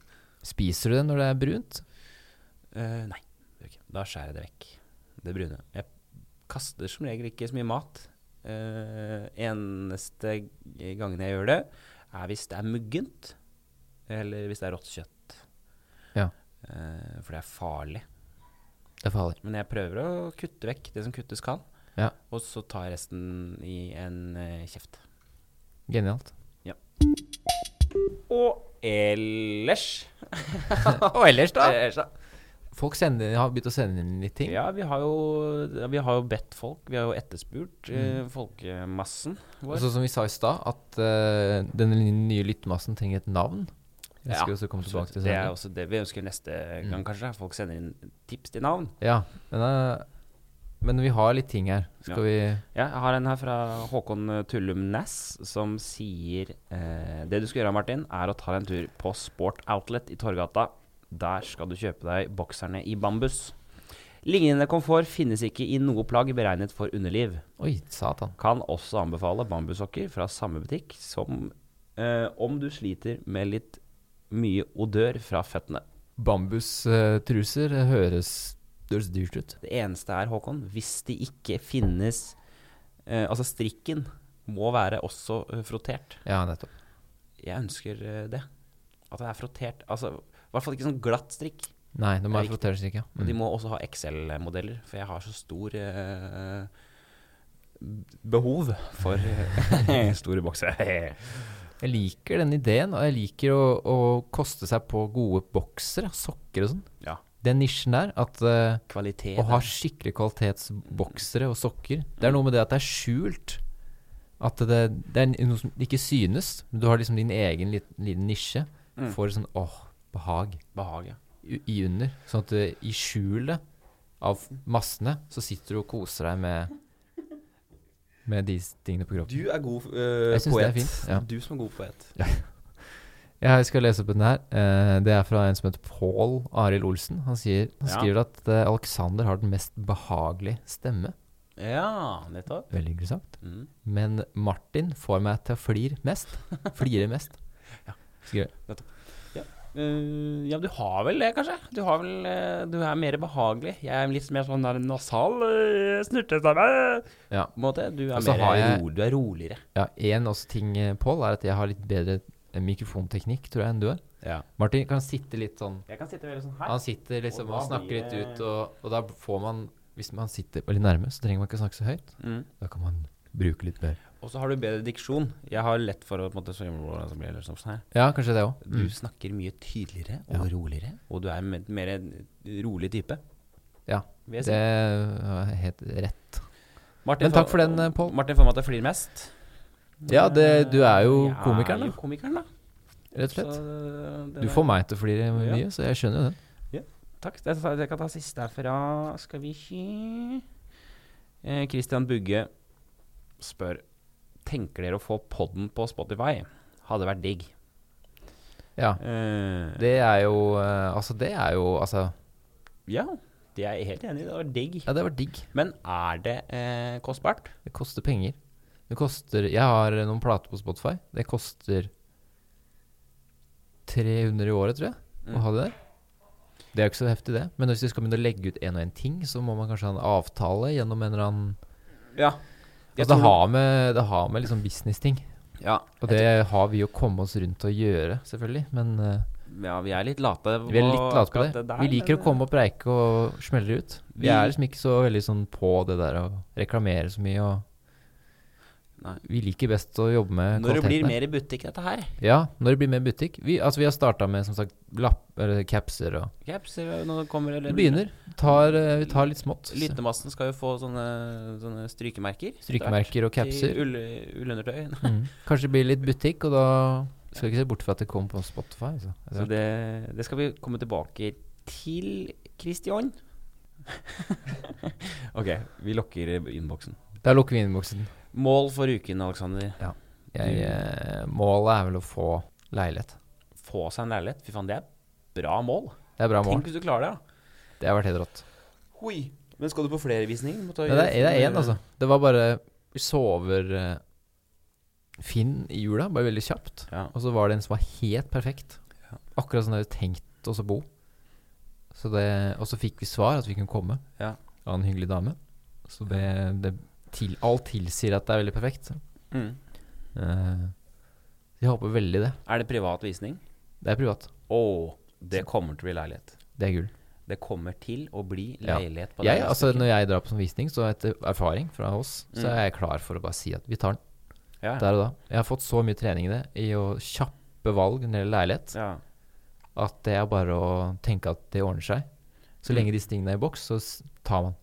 Speaker 2: Spiser du det når det er brunt?
Speaker 3: Eh, nei, det gjør jeg ikke. da skjærer jeg det vekk. Det brune. Jeg kaster som regel ikke så mye mat. Eh, eneste g- gangen jeg gjør det, er hvis det er muggent, eller hvis det er rått kjøtt.
Speaker 2: Ja.
Speaker 3: Eh, for det er farlig.
Speaker 2: Det er farlig.
Speaker 3: Men jeg prøver å kutte vekk det som kuttes kan,
Speaker 2: Ja.
Speaker 3: og så tar jeg resten i en eh, kjeft.
Speaker 2: Genialt.
Speaker 3: Og ellers Og ellers, da? Ellers, da.
Speaker 2: Folk sender, har begynt å sende inn litt ting.
Speaker 3: Ja, vi har, jo, vi har jo bedt folk. Vi har jo etterspurt eh, folkemassen
Speaker 2: Og
Speaker 3: vår.
Speaker 2: så som vi sa i stad, at eh, denne nye lyttmassen trenger et navn. Vi skal også komme tilbake til
Speaker 3: det er
Speaker 2: senere.
Speaker 3: også det vi ønsker neste
Speaker 2: Mm.
Speaker 3: gang, kanskje. Folk sender inn tips til navn.
Speaker 2: Ja, men, eh, men vi har litt ting her.
Speaker 3: Ja.
Speaker 2: Skal vi
Speaker 3: Ja, jeg har en her fra Håkon eh, Tullum Næss, som sier eh, Det du skal gjøre, Martin, er å ta deg en tur på Sport Outlet i Torgata. Der skal du kjøpe deg bokserne i bambus. Lignende komfort finnes ikke i noe plagg beregnet for underliv.
Speaker 2: Oi, satan.
Speaker 3: Kan også anbefale bambussokker fra samme butikk som eh, om du sliter med litt mye odør fra føttene.
Speaker 2: Bambustruser eh, høres, høres dyrt ut.
Speaker 3: Det eneste er, Håkon, hvis de ikke finnes eh, Altså, strikken må være også eh, frottert.
Speaker 2: Ja, nettopp.
Speaker 3: Jeg ønsker eh, det. At det er frottert. Altså, i hvert fall ikke sånn glatt strikk.
Speaker 2: Nei, det må
Speaker 3: Det
Speaker 2: jeg
Speaker 3: er
Speaker 2: frottere ikke.
Speaker 3: Og de må også ha XL-modeller, for jeg har så stor eh, behov for eh, store boksere.
Speaker 2: Jeg liker den ideen, og jeg liker å, å koste seg på gode boksere, sokker og sånn.
Speaker 3: ja.
Speaker 2: Den nisjen der, at eh,
Speaker 3: Kvalitet.
Speaker 2: å ha skikkelig kvalitetsboksere og sokker Det er noe med det at det er skjult. At det, det er noe som ikke synes. men Du har liksom din egen liten, liten nisje
Speaker 3: Mm.
Speaker 2: for sånn åh, behag
Speaker 3: Behaget.
Speaker 2: i i under. Sånn at eh, i skjulet av massene så sitter du og koser deg med med de tingene på kroppen.
Speaker 4: Du er god eh,
Speaker 2: Jeg synes det er
Speaker 4: poet.
Speaker 2: fint, ja.
Speaker 4: Du som er god poet.
Speaker 2: Jeg skal lese opp den her. Eh, Det er fra en som heter Pål Arild Olsen. Han, sier, han
Speaker 3: Ja.
Speaker 2: skriver at eh, Alexander har den mest behagelige stemme.
Speaker 3: Ja, nettopp.
Speaker 2: Veldig interessant.
Speaker 3: Mm.
Speaker 2: Men Martin får meg til å flire mest. Flire mest. Skriver.
Speaker 3: Eh, ja, du har vel det, kanskje? Du, har vel, eh, du er mer behagelig. Jeg er litt mer sånn der nasal eh, snurtestemme.
Speaker 2: Ja.
Speaker 3: på en måte. Du er,
Speaker 2: Og så
Speaker 3: mer eh,
Speaker 2: har jeg-
Speaker 3: ro, du er roligere.
Speaker 2: Ja, en også ting, eh, Pål, er at jeg har litt bedre eh, mikrofonteknikk, tror jeg, enn du har. Martin kan sitte litt sånn
Speaker 3: Jeg kan sitte veldig sånn her.
Speaker 2: Han sitter liksom
Speaker 3: Og
Speaker 2: og,
Speaker 3: da
Speaker 2: snakker
Speaker 3: blir
Speaker 2: litt
Speaker 3: det-
Speaker 2: ut, og, og da får man Hvis man sitter veldig nærme, så trenger man ikke snakke så høyt.
Speaker 3: Mm.
Speaker 2: Da kan man bruke litt mer.
Speaker 3: Og så har du bedre diksjon. Jeg har lett for å på en måte, så så blir det liksom sånn her.
Speaker 2: Ja, kanskje det òg.
Speaker 3: Du snakker mye tydeligere og roligere, og du er en mer- mer en rolig type.
Speaker 2: Ja,
Speaker 3: vil jeg si.
Speaker 2: det er helt rett.
Speaker 3: Martin
Speaker 2: Men takk
Speaker 3: får-
Speaker 2: for den, eh, Pål.
Speaker 3: Martin får meg til å flire mest.
Speaker 2: Ja, det, du er jo
Speaker 3: Jeg
Speaker 2: komikeren,
Speaker 3: er
Speaker 2: da,
Speaker 3: jo komikeren, da.
Speaker 2: rett og slett.
Speaker 3: Så, eh,
Speaker 2: Du
Speaker 3: den
Speaker 2: får
Speaker 3: er-
Speaker 2: meg til å flire mye, så jeg skjønner jo den.
Speaker 3: Takk. Jeg, tar- jeg kan ta siste herfra. Skal vi se eh, Christian Bugge spør Tenker dere å få podden på Spotify. Hadde vært digg.
Speaker 2: Ja.
Speaker 3: Eh,
Speaker 2: Det er jo eh, Altså, det er jo Altså,
Speaker 3: ja, det er jeg helt enig i. Det var digg.
Speaker 2: ja, det var digg.
Speaker 3: Men er det eh, kostbart?
Speaker 2: Det koster penger. Det koster Jeg har noen plater på Spotify. Det koster 300 i året, tror jeg, å ha det der. Det er jo ikke så heftig, det. Men hvis du skal begynne å legge ut en og en ting, så må man kanskje ha en avtale gjennom en eller annen
Speaker 3: Ja.
Speaker 2: Altså, det har med, det har med liksom business-ting.
Speaker 3: ja.
Speaker 2: Og det har vi jo kommet oss rundt å gjøre, selvfølgelig. Men eh,
Speaker 3: Ja, vi er litt late.
Speaker 2: vi er litt late på
Speaker 3: akkurat
Speaker 2: det.
Speaker 3: der,
Speaker 2: Vi liker å
Speaker 3: men-
Speaker 2: komme opp preike og smelle ut. Vi
Speaker 3: Vi-
Speaker 2: er liksom ikke så veldig sånn på det der å reklamere så mye og
Speaker 3: Nei.
Speaker 2: Vi liker best å jobbe med
Speaker 3: eh, Når det
Speaker 2: kvaliteten
Speaker 3: blir
Speaker 2: her.
Speaker 3: mer i butikk, dette her.
Speaker 2: Ja, når det blir mer butikk. Vi, altså, vi har starta med som sagt lapp, eller capser og
Speaker 3: Caps, nå kommer
Speaker 2: Vi begynner. Tar, eh, vi tar litt smått.
Speaker 3: Lytemassen skal jo få sånne, sånne strykemerker.
Speaker 2: Strykemerker og
Speaker 3: I
Speaker 2: capser.
Speaker 3: ull, ullundertøy.
Speaker 2: Mm. Kanskje det blir litt butikk, og da skal vi ikke se bort fra at det kommer på Spotify. Altså.
Speaker 3: Så det, det skal vi komme tilbake til, Christian. ok, vi lokker innboksen.
Speaker 2: Da lukker vi innboksen.
Speaker 3: Mål for uken, Alexander.
Speaker 2: Jeg, eh, målet er vel å få leilighet.
Speaker 3: Få seg en leilighet. Fy faen, det er bra mål.
Speaker 2: Det er bra mål.
Speaker 3: Tenk hvis du klarer det. da.
Speaker 2: Det har vært helt rått.
Speaker 3: Hoi. Men skal du på flere visninger? Må ta-
Speaker 2: Nei, det er- det er én, altså. Det var bare Vi sover eh, Finn i jula, bare veldig kjapt.
Speaker 3: Ja.
Speaker 2: Og så var det en som var helt perfekt. Akkurat sånn jeg hadde tenkt oss å bo. Så det, og så fikk vi svar at vi kunne komme
Speaker 3: Ja.
Speaker 2: av en hyggelig dame. Så det, det til, Alt tilsier at det er veldig perfekt.
Speaker 3: Mm.
Speaker 2: Eh, jeg håper veldig det.
Speaker 3: Er det privat visning?
Speaker 2: Det er privat.
Speaker 3: Å, det kommer til å bli leilighet.
Speaker 2: Det er gull.
Speaker 3: Det kommer til å bli
Speaker 2: Ja.
Speaker 3: leilighet på
Speaker 2: Jeg,
Speaker 3: deg,
Speaker 2: altså,
Speaker 3: Astrid.
Speaker 2: når jeg drar på sånn visning, så etter erfaring fra oss, så
Speaker 3: Mm.
Speaker 2: er jeg klar for å bare si at vi tar den.
Speaker 3: ja, ja.
Speaker 2: Der og da. Jeg har fått så mye trening i det, i å kjappe valg når det gjelder leilighet,
Speaker 3: ja.
Speaker 2: at det er bare å tenke at det ordner seg. Så lenge disse tingene er i boks, så s- tar man.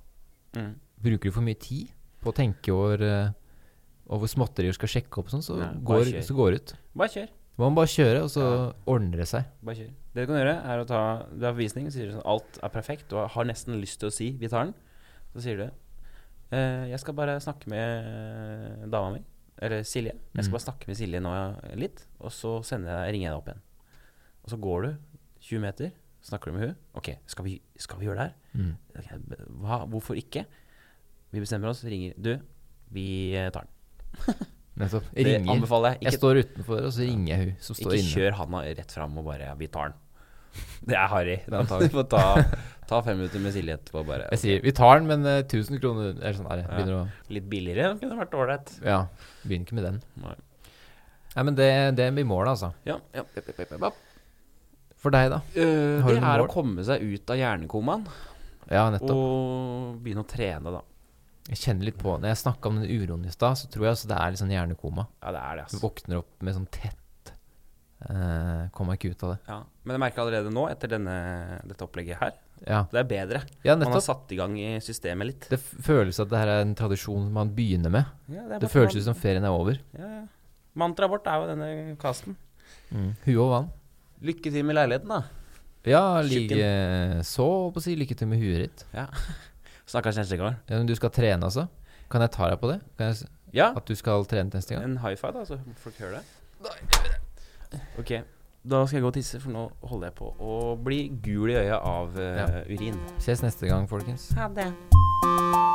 Speaker 3: Mm.
Speaker 2: Bruker du for mye tid på å tenke over, eh, over småtterier du skal sjekke opp, og sånn, så,
Speaker 3: Nei, bare
Speaker 2: går,
Speaker 3: kjør.
Speaker 2: så går det ut.
Speaker 3: Bare kjør.
Speaker 2: Man må bare kjøre, og så ordner det seg.
Speaker 3: Bare kjør. Det du kan gjøre, er å ta Du er på visning, så sier du sånn Alt er perfekt, og har nesten lyst til å si vi tar den. Så sier du eh, Jeg skal bare snakke med dama mi, eller Silje. Jeg
Speaker 2: Mm.
Speaker 3: skal bare snakke med Silje nå eh, litt, og så sender jeg, ringer jeg deg opp igjen. Mm. Og så går du 20 meter, snakker du med hun Ok, skal vi, skal vi gjøre det her? Ok, hva, hvorfor ikke? Vi bestemmer oss, ringer Du, vi eh, tar den.
Speaker 2: Nettopp. Jeg
Speaker 3: Det
Speaker 2: ringer.
Speaker 3: anbefaler jeg.
Speaker 2: Jeg
Speaker 3: Ikke,
Speaker 2: står utenfor, og så ringer jeg hun som står
Speaker 3: ikke
Speaker 2: inne.
Speaker 3: kjør handa rett fram og bare ja, Vi tar den. Det er harry.
Speaker 2: Den tar
Speaker 3: Du
Speaker 2: vi.
Speaker 3: får ta, ta fem minutter med Silje etterpå. Bare
Speaker 2: Jeg sier 'vi tar den, men eh, 1000 kroner' eller sånn er det. Begynner å
Speaker 3: litt billigere kunne vært ålreit.
Speaker 2: Ja. Begynner ikke med den.
Speaker 3: Nei.
Speaker 2: Nei, men det, det blir målet, altså.
Speaker 3: Ja, ja, ja, ja, ja, ja.
Speaker 2: For deg, da?
Speaker 3: Eh,
Speaker 2: Har du
Speaker 3: det
Speaker 2: noen
Speaker 3: er å
Speaker 2: mål?
Speaker 3: komme seg ut av hjernekomaen
Speaker 2: Ja, nettopp.
Speaker 3: og begynne å trene, da.
Speaker 2: Jeg kjenner litt på Når jeg snakka om den uroen i stad, så tror jeg altså det er litt sånn hjernekoma.
Speaker 3: Ja, det er det,
Speaker 2: Du
Speaker 3: altså.
Speaker 2: våkner opp med sånn tett eh, Kommer ikke ut av det.
Speaker 3: Ja. Men jeg merker allerede nå, etter denne, dette opplegget her,
Speaker 2: Ja,
Speaker 3: det er bedre.
Speaker 2: ja
Speaker 3: Man har
Speaker 2: nettopp.
Speaker 3: satt i gang i systemet litt.
Speaker 2: Det f- føles at det her er en tradisjon man begynner med.
Speaker 3: Ja,
Speaker 2: Det føles ut som ferien er over.
Speaker 3: ja, ja. Mantraet vårt er jo denne kasten.
Speaker 2: Mm. Hue og vann.
Speaker 3: Lykke til med leiligheten, da.
Speaker 2: Ja, like så, holdt på å si. Lykke til med huet ditt.
Speaker 3: Snakkes neste gang.
Speaker 2: Ja, men du skal trene, altså? Kan jeg ta deg på det? Kan jeg, s-
Speaker 3: Ja,
Speaker 2: at du skal trene til neste gang?
Speaker 3: en high five, da, så folk hører det. Ok, da skal jeg gå og tisse, for nå holder jeg på å bli gul i øya av eh, urin.
Speaker 2: Ses neste gang, folkens.
Speaker 5: Ha det.